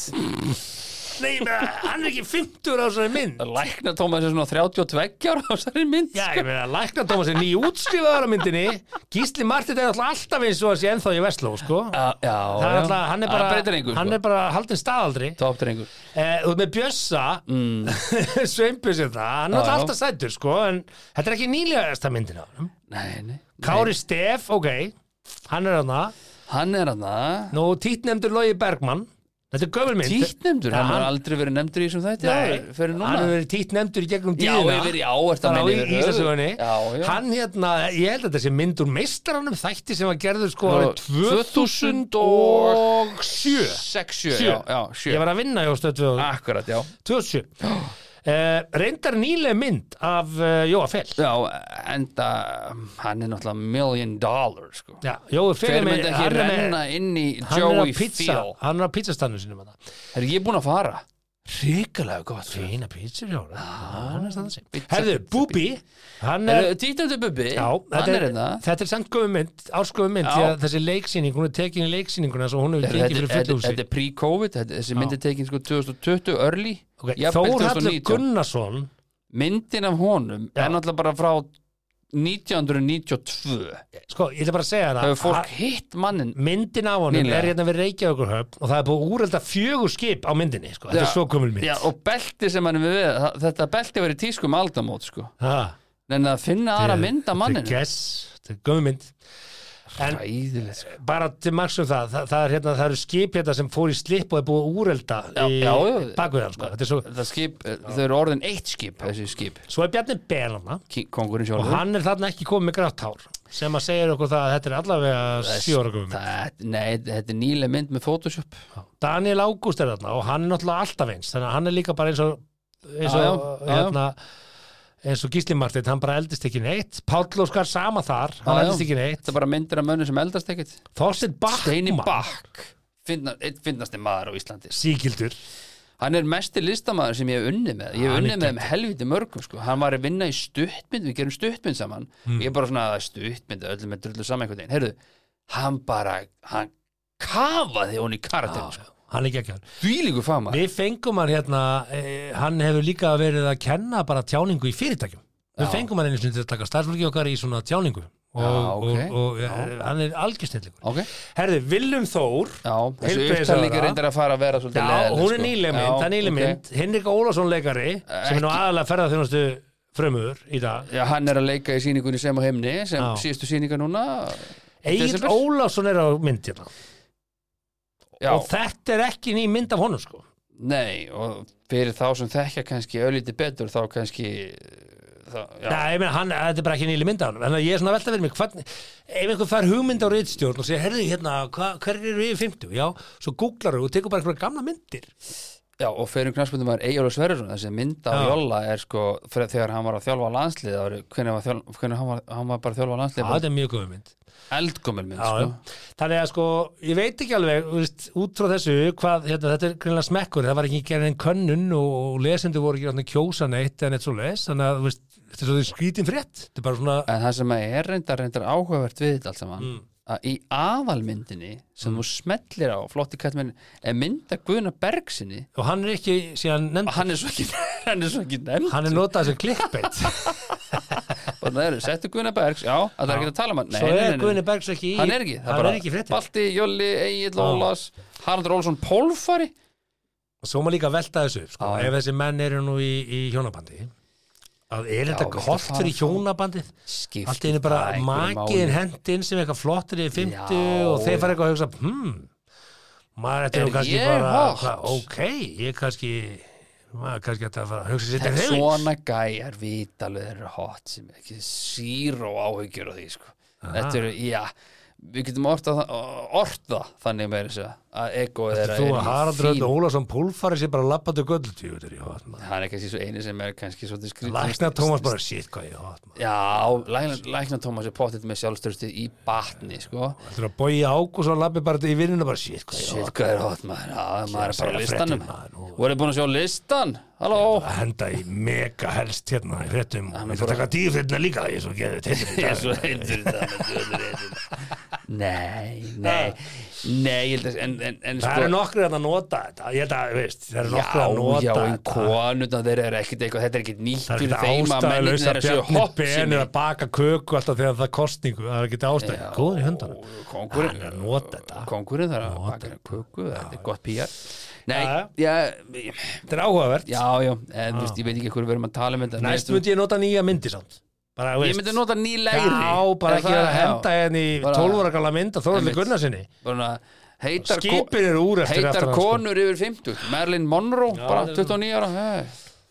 Nei, ég meina, hann er ekki 50 á þessari mynd Lækna Tómas er svona 32 ára á þessari mynd Já, sko. ég meina, lækna Tómas er nýjútskrifaður á myndinni Gísli Martin er náttúrulega alltaf eins og þessi ennþá í Vestló, sko já, já, já. Það er alltaf, hann er Það bara, breytir engu, hann sko. er bara haldin staðaldri Top drengur eh, og með Bjössa mm. Sveinbjössi það, Já, já. hann er alltaf alltaf sætur, sko en þetta er ekki nýlegasta myndin á honum. Nei, nei Kári Stef, ok hann er hann það, Hann er hann það nú títnemdur Logi Bergmann þetta er gömul mynd Títnemdur, Já, hann hann- har aldrei verið nefndur í þessum þætti Nei, áður, Fyrir hann núna hefur verið títnemdur í gegnum Já, tíðina yfir, já, ert að Bara á minna yfir Íslandsögunni Já, já Hann hérna, ég held að þessi mynd úr meistaranum þætti sem var gerður sko Frá árið 2007 6, 7, Sjö. já, já, Ah. 7 Ég var að vinna hjá stöð 2007 Akkurat, já 2007 uh, reyndar nýlega mynd af uh, Jóa Fell Já, enda um, Hann er náttúrulega million dollar, sko Já, Jói Fell Hver er með- myndi ekki hann er með- renna inn í hann er á Joey pizza Feel hann er á pizzastannu sínum hann Er ég búinn að fara? ríkulega gott fína pizza Jóra hann er stannu sín Pizza, herðu, pizza, Bubi hann er Títandi Bubbi, Já, hann er þetta er, hérna þetta er samt góðu mynd, ásgóðu mynd Já. því að þessi leiksýning, hún er tekin í leiksýninguna svo hún hefur Þetta gengið þetta- fyrir fullu þetta er pre-COVID, þetta- þessi myndi tekin sko 2020 early húsi jafnvel Þórhallur 2019. Gunnarsson myndin af honum Já. er náttúrulega bara frá 1992 sko, ég ætla bara að segja það hefur hana fólk hitt mannin myndin á honum Nýlega. er hérna við Reykjavíkurhöfn og það er búið úrelda fjögur skip á myndinni sko. þetta Já. er svo kumul mynd Já, og belti sem hann er við það- þetta belti verið tísku um aldamót sko. Ha. en að finna aðra mynd af Þetta manninu er guess, þetta er gömmynd en Ræðilegt sko. bara til maksum það, það, það, er, hérna, það eru skip hérna sem fór í slip og er búið að úrelda Já, í já, já. bakvið hann sko. Þetta er svo, Það skip, eh, þau eru orðin eitt skip þessi skip, svo er Bjarni Berlana Ki- kongurinn og sjálfur hann er þarna ekki komið með grátt hár sem að segja okkur það að þetta er allavega sjóra gömmynd það, Nei, þetta er nýlega mynd með Photoshop Daniel Ágúst er þarna og hann er náttúrulega alltaf eins þannig að hann er líka bara eins og eins Já, og, já, já, já. hérna, eins og Gísli Martin, hann bara eldist ekki neitt Páll Óskar sama þar, Já, hann já. eldist ekki neitt Þetta er bara myndir af mönnu sem eldast ekkert Þorstein Steini Bachmann, Bakk Finna, einn finnasti maður á Íslandi síkildur Hann er mesti listamaður sem ég hef unnið með Ég hef Hann er unnið með um helviti mörgum sko. Hann var að vinna í stuttmynd, við gerum stuttmynd saman Hmm. Ég er bara svona að stuttmynd öllum með drullu saman einhvern veginn Heyrðu, hann bara, hann kafaði hún í karakter sko. hann er ekki Þvílíku fama Við fengum hann hérna, eh, hann hefur líka verið að kenna bara tjáningu í fyrirtækjum. Við fengum hann einu sinni til að taka starfsfólki okkar í svona tjáningu og, Já, ok. og, og eh, hann er algjörstellingur. Ok, Herði, Willum Þór, já, þessi Heilbrigðisráðherra. upptalningi reyndar að fara að vera svolítið já, leiðinleg, hún er sko. nýlega mynd, Já, það er ok. nýlega mynd, Henrik Ólafsson leikari sem er nú aðalega ferðarþjónustu frömmuður í dag. Já, hann er að leika í sýningunni sem á heimni sem Já. síðustu sýninga núna Egil Desember. Ólafsson er á mynd hérna Já, og þetta er ekki ný mynd af honum sko. nei, og fyrir þá sem þekkja kannski öllítið betur þá kannski það, já, Nei, ég meina, hann, þetta er bara ekki nýli mynd af hann Þannig að ég er svona að velta verið mig hvernig, Ef einhver fær hugmynd á reyðstjórn og segir Herðu, hérna, hva, hver eru yfir 50? Já, svo googlar þú og tekur bara einhverja gamla myndir Já, og fyrir knarspundum var Eyjólfur Sverrisson þessi mynd á Já. Jólla er sko fyrir, þegar hann var að þjálfa landslið ári, hvernig, var þjálf, hvernig hann, var, hann var bara að þjálfa landslið Já, bara þetta er mjög góð mynd eldgumil mynd já, sko. já. Þannig að sko, ég veit ekki alveg þú veist, út frá þessu, hvað, hérna, þetta er greinlega smekkur, það var ekki gerðin en könnun og, og lesendur voru ekki hérna, kjósa neitt en eitt svo les, þannig að þú veist, þetta er svo skrítin frétt, þetta er bara svona en það sem er reyndar, reyndar áhugavert við þetta allt saman Mm. að í aðalmyndinni sem þú smellir á flotti kattmenn er mynd að Guðna Bergsinni og hann er ekki síðan og nefnd, hann er svo ekki, hann er svo ekki nefnd hann er notað sem klippbeitt og það eru, settu Guðna Bergs, já, að það er ekki að tala um hann Nei, svo nei, er nei, nei. Guðni Bergs ekki í hann er ekki, það hann bara er ekki í fréttum. Balti, Jolli, Egil, Ólas Haraldur Olsson, Pólfari og svo má líka velta þessu upp, sko, Já, já. ef þessi menn eru nú í, í hjónabandi að Já, er þetta viltu hort fara fyrir þá? hjónabandið Skiptir allt einu bara það einhverju máli? makiðin hent inn sem eitthvað flottir í 50 Já. og þeir fara eitthvað að hugsa hmm, maður þetta er Er nú kannski ég bara hot? hva, ok, ég kannski maður er kannski hægt að fara að hugsa sér til En hreyfings. svona gæjar vita alveg þeir eru hot sem er ekki zero áhyggjur á því sko. Þetta eru, já við getum orta, orta þannig með þess að egoið þeirra Þú er að í Haraldur fín- Öll Ólafsson púlfari sér bara lappandi göllutíu þetta er ég hot maður. hann er kannski svo eini sem er kannski svolítið skrýt Lækna Tómas bara shit hvað ég er hot maður. Já, lækna, lækna Tómas er pottit með sjálfstörstið í batni sko. Þú að bója ákus og lappi bara í vinnuna bara shit hvað ég er Shit, hot hvað er hot maður Já, maður er bara að á segja listanum fréttir, maður, nú- Voruð búin að sjá listan? Halló að henda í mega helst hérna í fréttum og er við þurfum að taka tíu fréttina líka ég er svo geðið teitur Ég í er dag svo heitur í dag, ég er svo heitur í dag. Nei, nei Nei, ég held að en, en, en, Ah. það eru nokkrið að nota þetta ég held að, veist, það eru nokkrið Sko- að Já, nota já, en þetta konutna þeir eru ekkit eitthvað Þetta er ekkit nýtt það er fyrir ekki þeim að mennin ástæðulegs að þeirra séu Bjarni hopp Ben er að baka köku alltaf þegar það er kostningu það er ekki ástæð, góður í höndunum Kongurinn Hann er að nota þetta. Kongurinn þarf að Nota baka köku, þetta er gott PR Nei, Já, Ah. já, þetta er áhugavert já, já en, þú veist, Ég veit ekki hverju við erum að tala um þetta næst Mér myndi ég nota nýja myndi samt bara, finnst- Ég myndi nota nýlegri já, bara ekki vera að henda henni í Bara- 12 ára gala mynd að Þorvaldi Einmitt. Gunnarsinni bara heitar, skipin eru úr eftir heitar eftir hann, sko. konur yfir 50 Merlin Monroe, bara það er- 29 ára hey.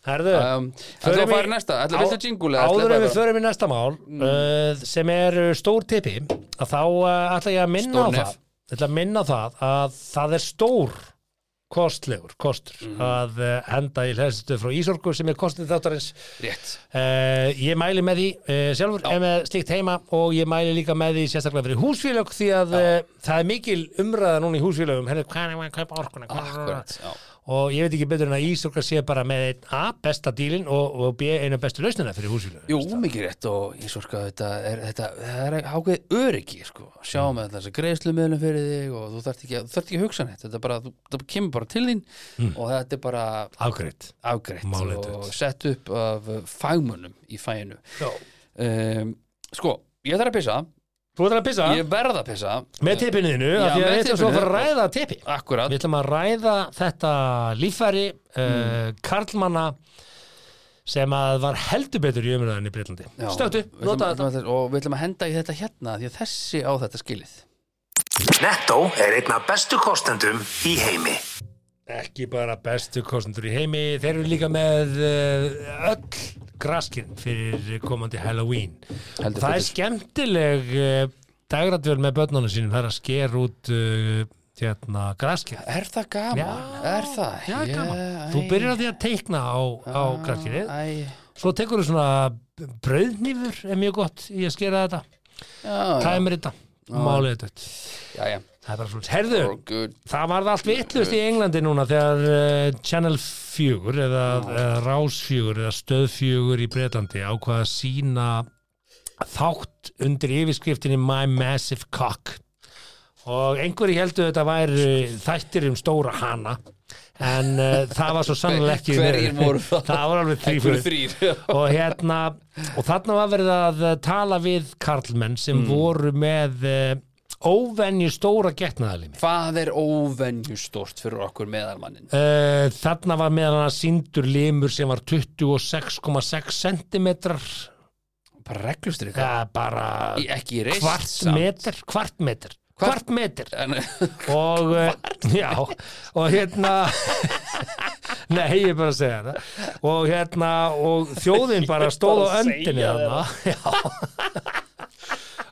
herðu um, ætlum við förum að fara í- í næsta, ætlum á- við að jingle eða ætlum við áður en bara- Mm. við förum í næsta mál uh, sem er uh, stór tippi að þá uh, ætla ég að minna Stór á nef. það Ég ætla að minna á það að það er stór kostlegur kostur Mm. að uh, henda í hlæðstu frá Ísorku sem er kostnið þáttarins rétt uh, ég mæli með því uh, sjálfur Já. með slíkt heima og ég mæli líka með því sérstaklega fyrir húsfélög því að uh, það er mikil umræða núna í húsfélögum henni hvað er maður að kaupa orkuna hvað er Akkurat, já. og ég veit ekki betur en að Ísorka sé bara með einn A, besta dílin og, og B, einu bestu lausnina fyrir húsfélög Jú, mikið rétt og ég svo sko þetta er, þetta, það er ákveðið öryggi sko. sjá Mm. með þess að greiðslumöðlum fyrir þig og þú þarft ekki, þú þarft ekki að hugsa neitt þetta, er bara, þú, þetta kemur bara til þín Mm. og þetta er bara afgreitt afgreitt Málið og dautt. sett upp af uh, fagmönnum í fæinu Já. um, Sko, ég þarf að pissa Þú ætlar að pissa? ég verð að pissa Með tippinu þínu, Já, af því að með við ætlum svo að tippinu. fara að ræða tippi Akkurat, Við ætlum að ræða þetta líffæri uh, Mm. Karlmanna sem að var heldur betur í umræðinni í Breitlandi Já. Stöttu, Við ætlum- nota við þetta ætlum að- og við ætlum að henda í þetta hérna því að þessi á þetta skilið Netto er einn af bestu kostendum í heimi. Ekki bara bestu kostendur í heimi Þeir eru líka með uh, öll graskinn fyrir komandi Halloween Heldur Það er betur. skemmtileg uh, dagratvel með börnunum sínum það er að sker út uh, hérna, graskinn Er það gaman? Já. er það? Já, Ég- gaman. æ, Ah. Þú byrjar á því að teikna á, á graskinnið æ, Svo tekur þú svona brauðnýfur er mjög gott í að skera þetta já, Ah. já. tæmir þetta, málið þetta Jæja, Það er bara svona, herðu, for good það varð allt vitlust í Englandi núna þegar uh, Channel 4 eða, eða Rás 4 eða Stöð 4 í Breitlandi ákvaða sína þátt undir yfirskriftinni My Massive Cock og einhverju heldur þetta væri þættir um stóra hana en uh, það var svo sannlega ekki Hverjir voru það? það var alveg Fyrir þrýfur þrýr og hérna og þarna var verið að eh, tala við karlmenn sem Mm. voru með eh, óvenju stóra getnaðalimi Hvað er óvenju stort fyrir okkur meðalmannin? Uh, þarna var meðan hann síndur limur sem var 26,6 cm Bara reglustrið ja. ja, bara Ekki í reist kvart metr kvart metr Kvart- kvart metr En, og eh, já og hérna nei ég er bara að segja það og hérna og þjóðin bara stóð á öndinni þarna Já.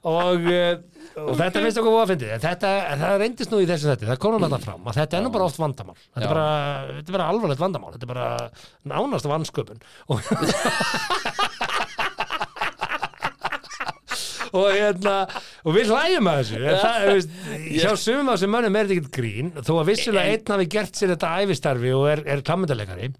og eh, og þetta finnst okkur að fyndið þetta, það reyndist nú í þessu þetta, það komum þetta fram að þetta er nú bara oft vandamál þetta er bara, þetta er bara alvarlegt vandamál þetta er bara nánast vansköpun og og, hérna, og við hlægjum að þessu en það, þú veist, hjá sumum af þessum mönnum er þetta ekkert grín þó að vissulega einn hafi gert sér þetta æfistarfi og er, er klammyndalegari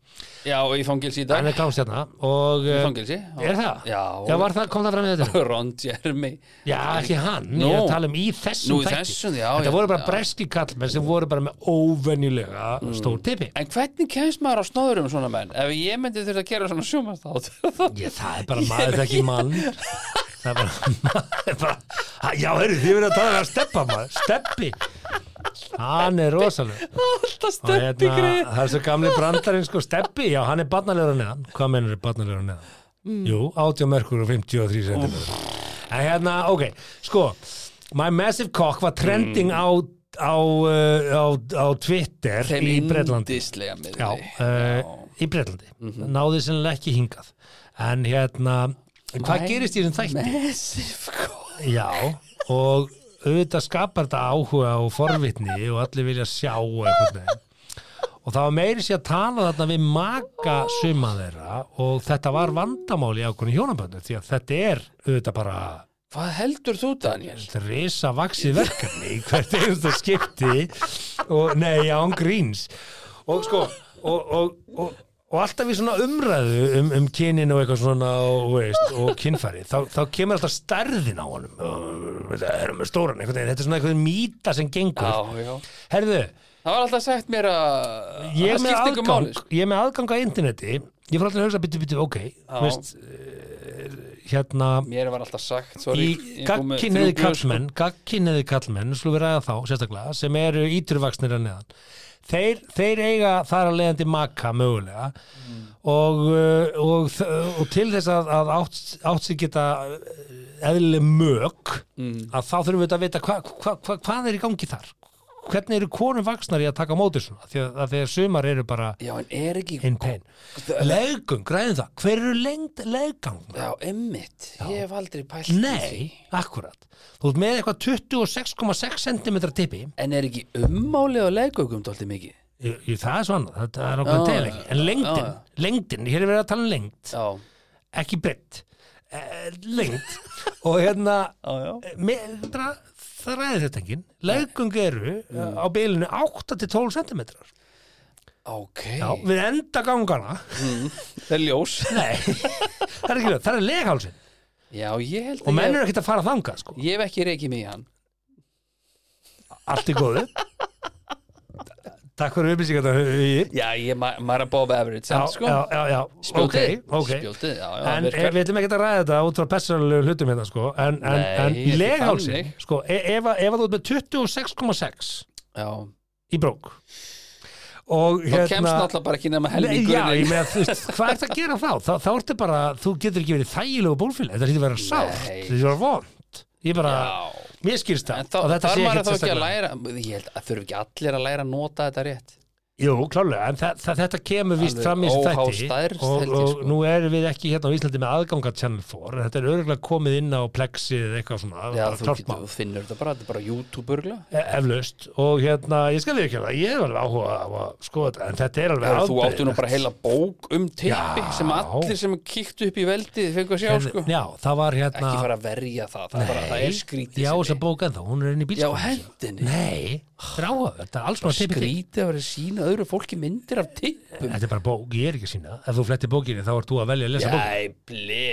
já, og í fangelsi í dag hann er klámstjarna og eh, Fangelsi er það? Já, Já, var það, kom það fram í þetta? Ron Jeremy Já, ekki hann, Nú. ég er að tala um í þessum Nú, í þætti. þessum, já, Þetta já, voru bara já. Mm. breski kallmenn sem voru bara með óvenjulega stór tippi En hvernig kemst maður á snóður um svona menn? Ef ég myndi þurft að gera svona sjómastátt Ég, það er bara maður þekki mann Það er bara maður er bara, Ha, Já, heyrðu, þið verið að tala um að steppa maður Steppi Hann er rosaleg Alltaf Og steppi greið hérna, það er svo gamli brandarinn sko Steppi, já hann er barnalegur á neðan hvað mennur er barnalegur á neðan? Jú, 80 merkur og 53 cm en hérna, ok, sko My Massive Cock var trending á á, uh, á, á Twitter Þeim í Bretlandi yndislega miðri. já, uh, í Bretlandi náði sennilega ekki hingað en hérna, hvað Mæ- gerist í þessum þætti? Massive God. Já, og auðvitað skapar þetta áhuga og forvitni og allir vilja sjá og einhvern veginn. Og það var meiri sér að tala þarna við maka suma þeirra og þetta var vandamál í ákveðinu hjónaböndu því að þetta er auðvitað bara Hvað heldur þú, Daniel? risa vaksið verkefni í hvert einasta skipti og nei, án gríns og sko og, og, og, og alltaf í svona umræðu um, um kynin og eitthvað svona og, þú veist, og kynfæri, þá, þá kemur alltaf stærðin á honum þetta er með stóran, einhvern veginn, þetta er svona einhvern mýta sem gengur, Já, já. herðu Það var alltaf sagt mér að ég er að með skipta ykkur aðgang máli. sko. ég er með aðgang að interneti ég fór alltaf að hugsa, byttu, byttu, ok veist, eh, hérna Mér var alltaf sagt, sorry. í ég kom með gagkinniði þrjú glös, sko. kallmenn gagkinniði kallmenn, slú við ræða þá sérstaklega, sem eru íturvaksnir að neðan þeir, þeir eiga þar að leiðandi maka mögulega og, uh, og, þ- og til þess að, að átt, átt sér geta uh, eðlileg mög Mm. að þá þurfum við að vita hva, hva, hva, hvað er í gangi þar hvernig eru konum vaksnar í að taka á móti svona því að, að þegar sumar eru bara Já, en er ekki in pain legung, græðum það, hver eru lengd legung Já, emmitt, ég hef aldrei pælt í því. Nei, akkurat Þú ert með eitthvað 26,6 cm tippi En er ekki ummálið á leggökum dólti mikið? Í- í- Það er svona, þetta er okkur Já, til ekki En já, lengdin, já. lengdin, hér er verið að tala um lengd Já, Ekki breytt Eh, Lengd Og hérna já, já. með- dra- Þræði þetta engin Legung eru Mm. eh, á bilinu 8-12 cm Ok, Já, við enda gangana það er ljós. Nei, það er ekki lög, það er leghálsin Já, ég held Og að menn ég, eru ekkert að fara þangað sko ég hef ekki reikið mig í hann. Allt í góðu Takk fyrir upplýsingarnar Hugi. Já, ég ma maður er above average, já, samt sko. já, já, já. Spjótið, ok, ok spjótið, já, já, en eh, virkar. við ætlum ekki að ræða þetta út frá persónulegu hlutum hérna sko en, en, Nei, en ekki leghálsin þannig. sko, e- ef, að- ef að þú ert með 26,6 Já, í brók og þá kemst náttúrulega bara ekki nema Hérna- Nei, helmingur. já, ég með, þú veist, hvað ert að gera þá? Þá, þá ertu bara, þú getur ekki verið þægilegu bólfélag, þetta hlýtur að vera sátt, Nei. þetta hlýtur að vera vond. Ég bara, mér skýrst það. En þá og þetta þarf sé maður ekkert þá ekki að sérstaklega. læra, ég held að þurfi ekki allir að læra að nota þetta rétt. Jú, klálega, en það, það, þetta kemur víst Alveg fram í þessu óháð þætti stærð, og, held ég, og sko. nú erum við ekki hérna á Íslandi með aðganga Channel 4, þetta er örgulega komið inn á plexið eða eitthvað svona, Já, bara þú klárt getur, mál, þú finnur þetta bara, þetta er bara YouTube-urgla. e- eflaust og hérna, ég skal við ekki hérna, ég er alveg áhuga á að skoða þetta, en þetta er alveg Já, þú áttu nú bara heila bók um tippi Já. Hérna, sem allir sem kíktu upp í veldið fengu að sjá sko. Já, það var Ekki hérna fara að verja það, það, er bara, það er skrítið Já, sem þess er. að bóka ennþá, hún er inn í Já, bílskóð hendinni Nei, það er áhuga, þetta er alls maður tippið Skrítið að vera að sína öðru fólki myndir af tippum Þetta er bara bók, ég er ekki að sína, ef þú fletti bókinni þá ert þú að velja að lesa bókinni Æ, blé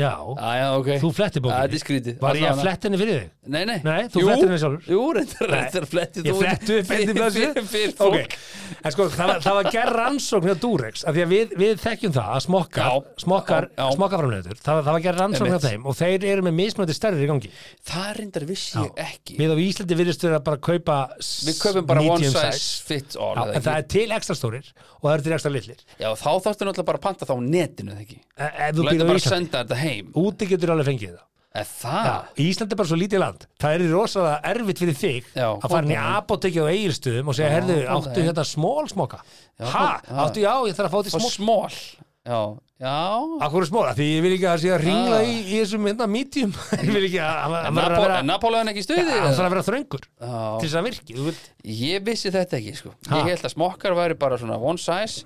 Já, Æja, ok þú Æ, fletti Þetta bókinni er skrítið Var ég að Allavega. fletta henni fyrir þig? Nei, nei Nei, þú Jú, flettir henni sjálfur. Jú, reyndar, reyndar flettið ég flettu upp einnig blaðsíðu Fyrir Ok. fólk en sko það var, það var gerð rannsókn hjá Durex af því að við, við þekkjum það að smokkar Já, smokkar, já, já. smokkaframleitur það, það var gerð rannsókn hjá Einmitt. þeim og þeir eru með mismöndi stærri í gangi Það reyndar vissi ég ekki við á Íslandi virðist vera bara að kaupa s- Við kaupum bara one medium size fits all Já, eða en það ekki? er til ekstra stórir og það eru til ekstra litlir e- Já, þá þarftu náttúrulega bara að panta þá á netinu, eða ekki? ef Þú þú lætur býr á bara að Íslandi senda þetta heim úti getur alveg fengið það Er það? Já, Ísland er bara svo lítið land Það er rosalega erfitt fyrir þig Já, að fara inn í fólk- apotekið á eigilstöðum og segja, herðu, fólk- áttu þetta smól smoka? Ha, fólk- já. áttu já, ég þarf að fá þetta í Og smól smól Já, já Akkur er smóla, því ég vil ekki að það sé að ringla í, í þessum mynda medium Ég vil ekki að hann hann verður að vera Napóleon Napóleon ekki í stuði hann þarf að vera þröngur Já. til þess að virki þú vilt- Ég vissi þetta ekki sko Ha? Ég held að smokkar væri bara svona one size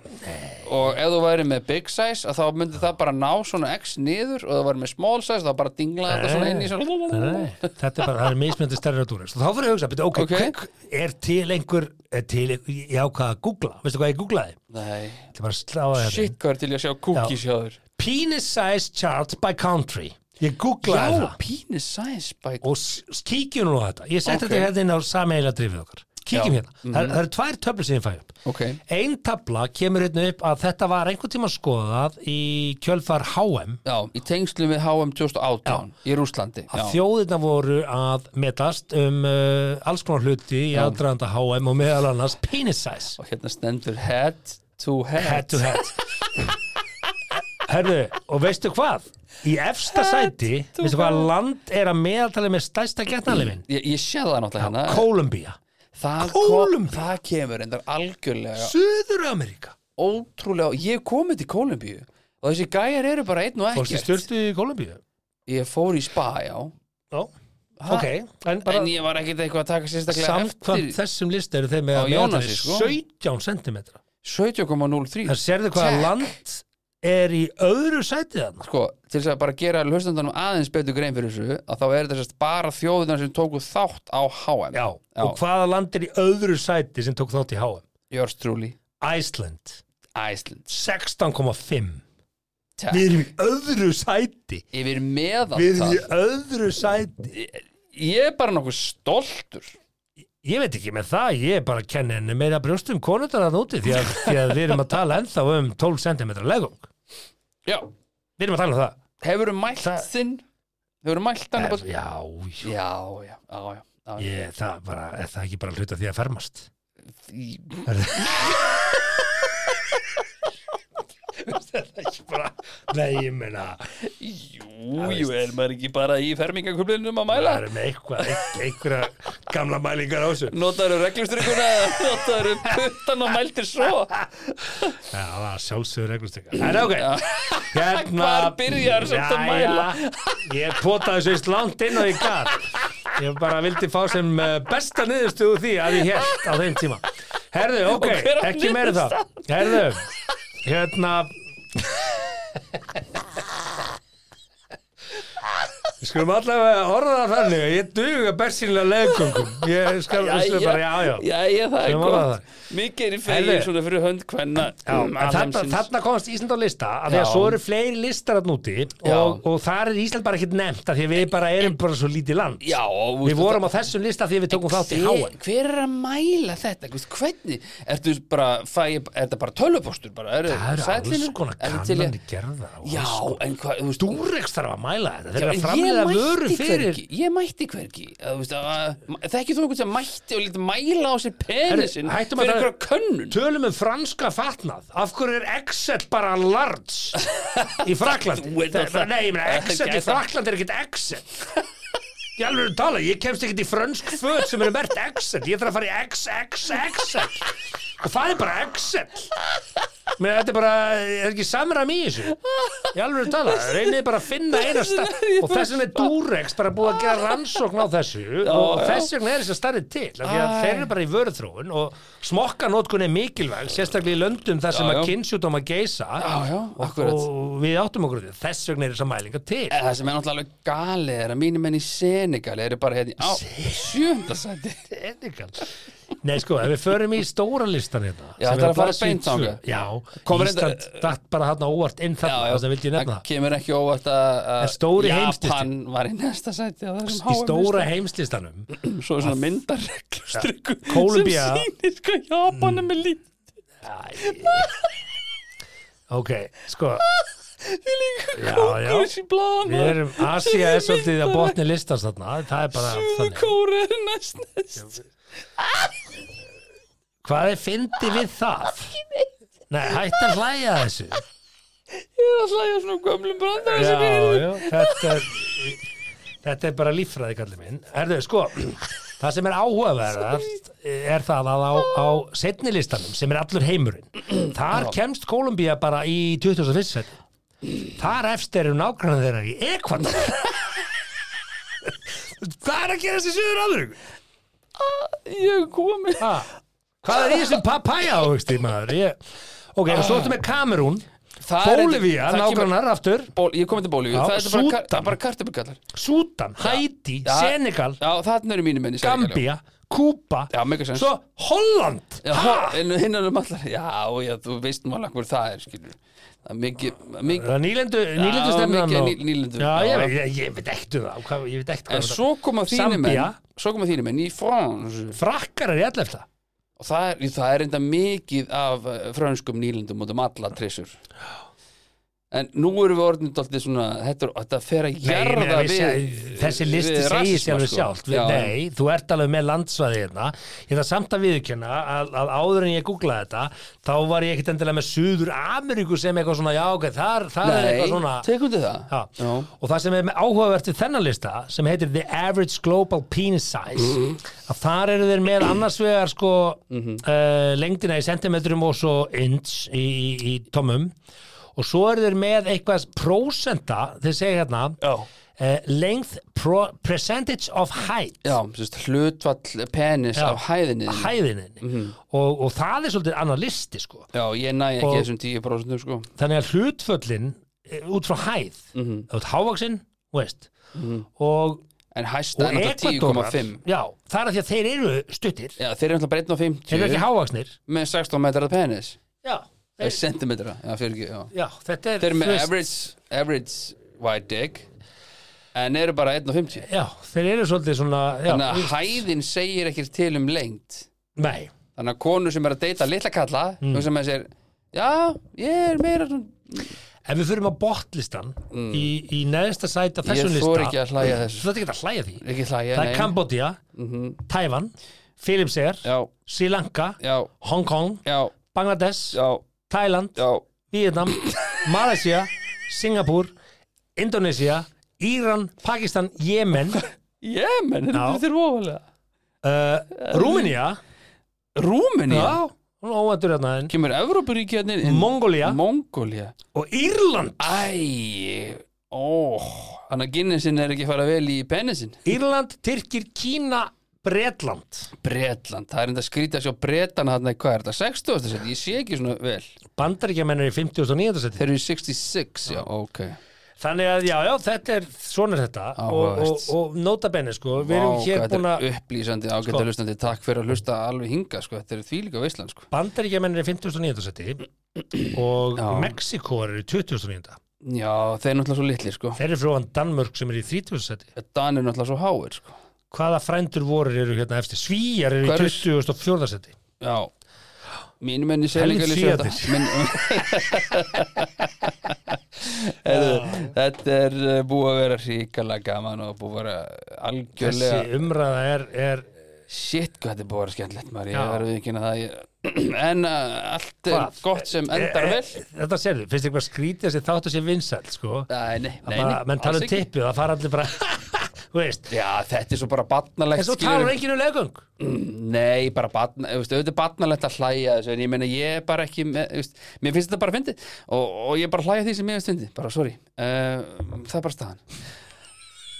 Og ef þú væri með big size að Þá myndi það bara ná svona x niður Og ef þú væri með small size þá bara dingla þetta svona inn í svona Nei, Þetta er bara, það er mismjöndi stærri á túrist og þá fyrir að hugsa, beti, ok, Ok. okay. er til einhver er til, einhver- ég ákvað að googla veistu hvað ég googlaði? Nei Þetta er bara að slá að hérna Shit hvað er til ég að sjá cookies hjá þér Penis size chart by country Ég googlaði Já, það penis size by og s- s- kíkjum nú á þetta ég Ok. setti þetta hérna inn á sameiglega drifið okkar kíkjum Já. hérna, það, það eru tvær töflur sem ég fæ upp Ok. ein tabla kemur hérna upp að þetta var einhvern tíma skoðað í kjölfar HM Já, í tengslu við HM 2018 Í Rússlandi að Já, þjóðirna voru að metast um uh, alls konar hluti í aðdraðanda HM og meðal annars penis size og hérna stendur head to head head to head herðu, og veistu hvað í efsta sæti, veistu hvað land er að meðaltali með stærsta getnalifin Ég, ég sé Mm. það náttúrulega hérna Kólumbía það, Kólumbíu. það kemur endar algjörlega Suður Ameríka ótrúlega, ég hef komið til Kólumbíu og þessi gæjar eru bara einn og Fórstu ekkert styrtu í Kolumbíu? ég fór í spa, já Já, Ha? ok En bara en ég var ekkert eitthvað að taka sérstaklega samkvæmt eftir þessum list eru þeir með Á að meðaltali Jónasi, sko. 17 cm 17,03 Það sérðu hvaða Takk. land er í öðru sætið hann sko, til þess að bara gera hlustandanum aðeins betur grein fyrir þessu að þá er þetta sérst bara þjóðunar sem tóku þátt á HM Já, og hvaða land er í öðru sæti sem tók þátt í HM? Yours truly, Æsland, Iceland 16,5 Takk. Við erum í öðru sæti yfir meðan Við erum það í öðru sæti ég er bara nokkuð stoltur Ég veit ekki með það, ég er bara að kenna henni meira brjóstum konundar að núti því að, því að við erum að tala ennþá um 12 cm legung já, Við erum að tala um það hefurðu mælt Það- þinn hefurðu mælt hann bara... já, Já, já, já, já, já, já. ég, það, bara, er það ekki bara hluta því að fermast Í- Það er ekki bara, nei, ég meina Jú, jú, er maður ekki bara í fermingaköflinum að mæla? Það er með eitthvað, ein- einhverja gamla mælingar á þessu Notaður reglustrykkuna eða notaður puttan og mæltir svo? Já, það var sjálfsögur reglustykka En ok, hérna Hvar byrjar samt að mæla? Jæja, Ég potaði svo eist langt inn og ég gat Ég bara vildi fá sem eh, besta niðurstöðu því að ég hélt á þeim tíma Herðu, ok, Og hver var ekki meira um það Herðu, hérna Við skulum allavega orða það þannig að Ég duga bersinlega leggungum Ég skal, við skulum bara, já, já Jæja, það er Sem var það. gott. Mikið er í fegin Heyrðu. svona fyrir hönd um hvenna. Já, en þarna, þarna komast Ísland á lista af því að Já. svo eru fleiri listar að núti og, og þar er Ísland bara ekkert nefnt af því að við bara erum bara svo lítið land Já, og Við vorum á þessum lista af því að við tókum þátt í háa Hver er að mæla þetta? Þú veist, Hvernig? Ertu bara, fæ, er þetta bara tölvupostur? Bara, er, Það eru alls konar kannanir gerða og Já, alls konar. en hvað, þú veist, Dúrex þarf að mæla þetta Já, þeir eru að en framlega ég mætti vöru fyrir hvergi, ég mætti hvergi Að þú veist, að- þekkir þú einhvern sem mætti og lítið mæla á sér penisin Herri, hættum að fyrir tala- einhverja könnun Tölum um franska fatnað Af hverju er Excel bara large í Fraklandi Þú ert að það- Nei, ég meina Excel í Gæta. Fraklandi er ekkert Excel Ég alveg tala, ég kemst ekkert í frönsk föt sem eru mert Excel Ég þarf að fara í XXXL Og það er bara Excel Men þetta er bara, er ekki samram í þessu Ég alveg tala, reynið bara að finna eina stað Og þess vegna er Durex bara búið að gera rannsókn á þessu Og já. þess vegna er þess að starrið til af Því að Æ. þeir eru bara í vörðþróun Og smokkanótkun er mikilvæg Sérstaklega í löndum þar sem Já, að já. kynnsjúdóma geisa já, og, akkurat. og við áttum okkur á því Þess vegna er þess að mælinga til Eh, það sem er náttúrulega alveg galið er að mínum enn í Senegal eru bara hérna í- á sjöndasæti Senegal. Nei sko, ef við förum í stóra listan hérna Já, sem þetta er að á fara blaðsíðu beint þangað. tvö. Já, Kom reyndar- Ísland datt bara hérna óvart inn þarna þess að vildi ég nefna það kemur ekki óvart að- að En stóri Japan heimslisti. var í næsta sæti á þessum Í HM stóra heimslistanum listum. svo er svona myndarreglustrykku Kólumbía- sem sýnir hvað Japan er með lít Ok, sko því líka Já, já. kókurs í blaðan Við erum, Asia er svolítið að botni listans þarna Það er bara þannig Kóru er næst næst Hvað er fyndi við það? Nei, hætt að hlæja að þessu Ég er að hlæja svona gömlum brandar sem ég Já, já, þetta er Þetta er bara líffræði kallið minn Erðu, sko, það sem er áhugaverðast er það að á, á setni listanum sem er allur heimurinn Þar kemst Kólumbía bara í 2001 seti Þar efst eru nákvæmna þeirra í Ekvador Hvað er að gera þessi söður aðrug? Ég er komin Ha, hvað er í þessum papæja ávöxti maður? Ég, ok, og svo ertu með Kamerún Það er- Bólivía, það kemur- nákvæmnar aftur Ból, Ég er komin til Bólivíu Já, Það er bara, kar, Súdan. það er bara kartöflugallar Sútan, Hæti, Já. Senegal Já, þarna eru mínir menni Gambía, Kúpa Já, mega sens. Svo Holland Já, hó- en hinnan um allar Já, já, þú veist nú alveg hver það er skilur Það er mikið mikið- Það er Nýlendu, nýlendu stemnan mikið ný- nýlendu. Já, Já. ég, veit- ég, ég veit ekkert um það hvað, Ég veit ekkert En um svo koma þínu menn Zambía. Svo koma þínu menn í Frans það Frakkar er ég alltaf það Og það er, það er enda mikið af eh, frönskum nýlendum út um alla trissur en nú erum við orðin dálítið svona, þetta, er- þetta fer að Nei, jarða nei, við, vissi- þessi listi við rasisma, segir sér alveg sko. sjálft við, Já, nei, þú ert alveg með landsvæði hérna ég það samt að viðurkenna að, að áður en ég googlaði þetta þá var ég ekkit endilega með Suður Ameríku sem eitthvað svona, já ok, þar, þar er eitthvað svona Nei, tekum þið það Já. Já. og það sem er með áhugavert við þennan lista sem heitir The Average Global Penis Size að þar eru þeir með annars vegar sko uh, lengdina í sentimetrum og svo inch í, í, í tomum og svo eru þeir með eitthvað prósenta, þeir segja hérna Já. uh, length pro, percentage of height Já, sérst, hlutvall penis Já. af hæðinni þinni. hæðininni og, og það er svolítið annar listi sko Já, ég næ ekki Og- þessum 10% sko. þannig að hlutföllin eh, út frá hæð mm -hmm. þú ert hávaxinn, þú veist og En hæsta og er náttúrulega Ekvadorar 10,5 já, það er að því að þeir eru stuttir Já, þeir eru náttúrulega bara 1 og þeir 50 eru ekki hávaksnir með 16 metrað penis já, Þeir... þeir, Sentimetra, já, fyrir ekki, já já, þetta er Þeir eru með þú veist, average, average wide dick En eru bara 1,50 já, þeir eru svolítið svona já, Þannig að hæðin segir ekki til um lengt nei, Þannig að konur sem er að deyta litla kalla mm. Hugsa með sér, já, ég er meira svona ef við fyrir á botlistan í, í neðsta sæti á Mm. þessum Ég lista þor ekki að hlæja þú þessu þarf ekki að hlæja því Ekki hlæja, það nei. Mhm. er Kambodja, Tævan Filipsegar, Já, Sri Lanka já, Hong Kong, já, Bangladesh já, Thailand, já Vietnam Malaysia, Singapur Indonesia, Íran Pakistan, Jemen Jemen, þetta Já. er ofalega uh, Rúminía Rúmenía Já, hún óvættur hérna en Kemur Evrópuríki hérna inn Mongólia Mongólia og Írland Æ, ó Þannig að Guinnessin er ekki að fara vel í pennisin Írland, Tyrkir, Kína, Bretland Bretland, það er enda að skrýta að sjá Bretana þarna, hvað er þetta, 60. seti, ég sé ekki svona vel Bandaríkjamenn er í 59. seti Þeir eru í 66, já, ok Þannig að já, já, þetta er svona er þetta og, og, Áhugavert. og nota benni sko Vá, við erum hvað hér búin Þetta að er upplýsandi, ágæta Sko. hlustandi Takk fyrir að hlusta alveg hinga, sko, þetta er þvílíka veislan, sko Bandaríkjamenn er í 59. seti og Já. Mexiko er í 29. Já, þeir eru náttúrulega svo litli, sko Þeir eru frá Danmörk sem er í 30. seti Dan er náttúrulega svo háir, sko Hvaða frændur voru eru hérna eftir? Svíjar eru í Hvar er- 24. seti Já Mínu menni Helvíti sérleika lýsa þetta Svíarnir. Minn... Heyrðu, Þetta er uh, búið að vera ríkalega gaman og búið að vera algjörlega Þessi umræða er, er Shit, hvað þetta er búið að vera skemmtilegt maður Ég Já. verður ekki að það ég... En uh, allt er Hvað? gott sem endar Eh, eh, vel Þetta serðu, finnst þið eitthvað skrítið þessi þáttu sér vinsæl sko? Nei, nei, nei, Nei, bara, nei menn tala alls um ekki. tippið, það fara allir bara þú veist, Já, þetta er svo bara barnalegt en svo skilurðu. Mm, talar enginn um legung Nei, bara batna, veist, auðvitað er batnalegt að hlæja þessu en ég meina ég er bara ekki með, veist, mér finnst þetta bara fyndi og, og ég bara hlæja því sem mér finnst fyndi bara sorry, uh, það er bara staðan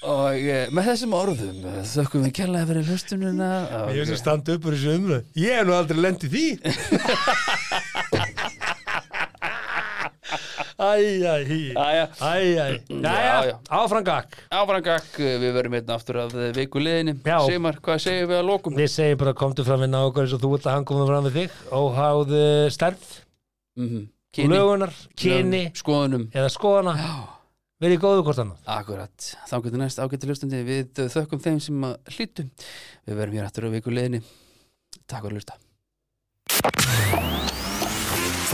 og uh, með þessum orðum uh, þökkum við kærlega fyrir hlustununa og, Ég veist að standa upp úr þessu umröð Ég hef nú aldrei lendið því Æ, æ, Jæja. æ Æ, æ, Mm, Já, já. já, áfram gakk Áfram gakk, uh, við verum hérna aftur af uh, vikuleginni, Já. Seymar, hvað segjum við að lokum? Við segjum bara komdu fram við nákvæm eins og þú ert að hann koma fram við þig óháð eh, stærð, Mm -hmm. lögunar, Mhm. kyni skoðunum eða skoðana verið góðu hvort annað Akkurat, þá getur næst ágættu hlustandi við uh, þökkum þeim sem að hlýttu við verum hér aftur á vikuleginni Takk fyrir að hlusta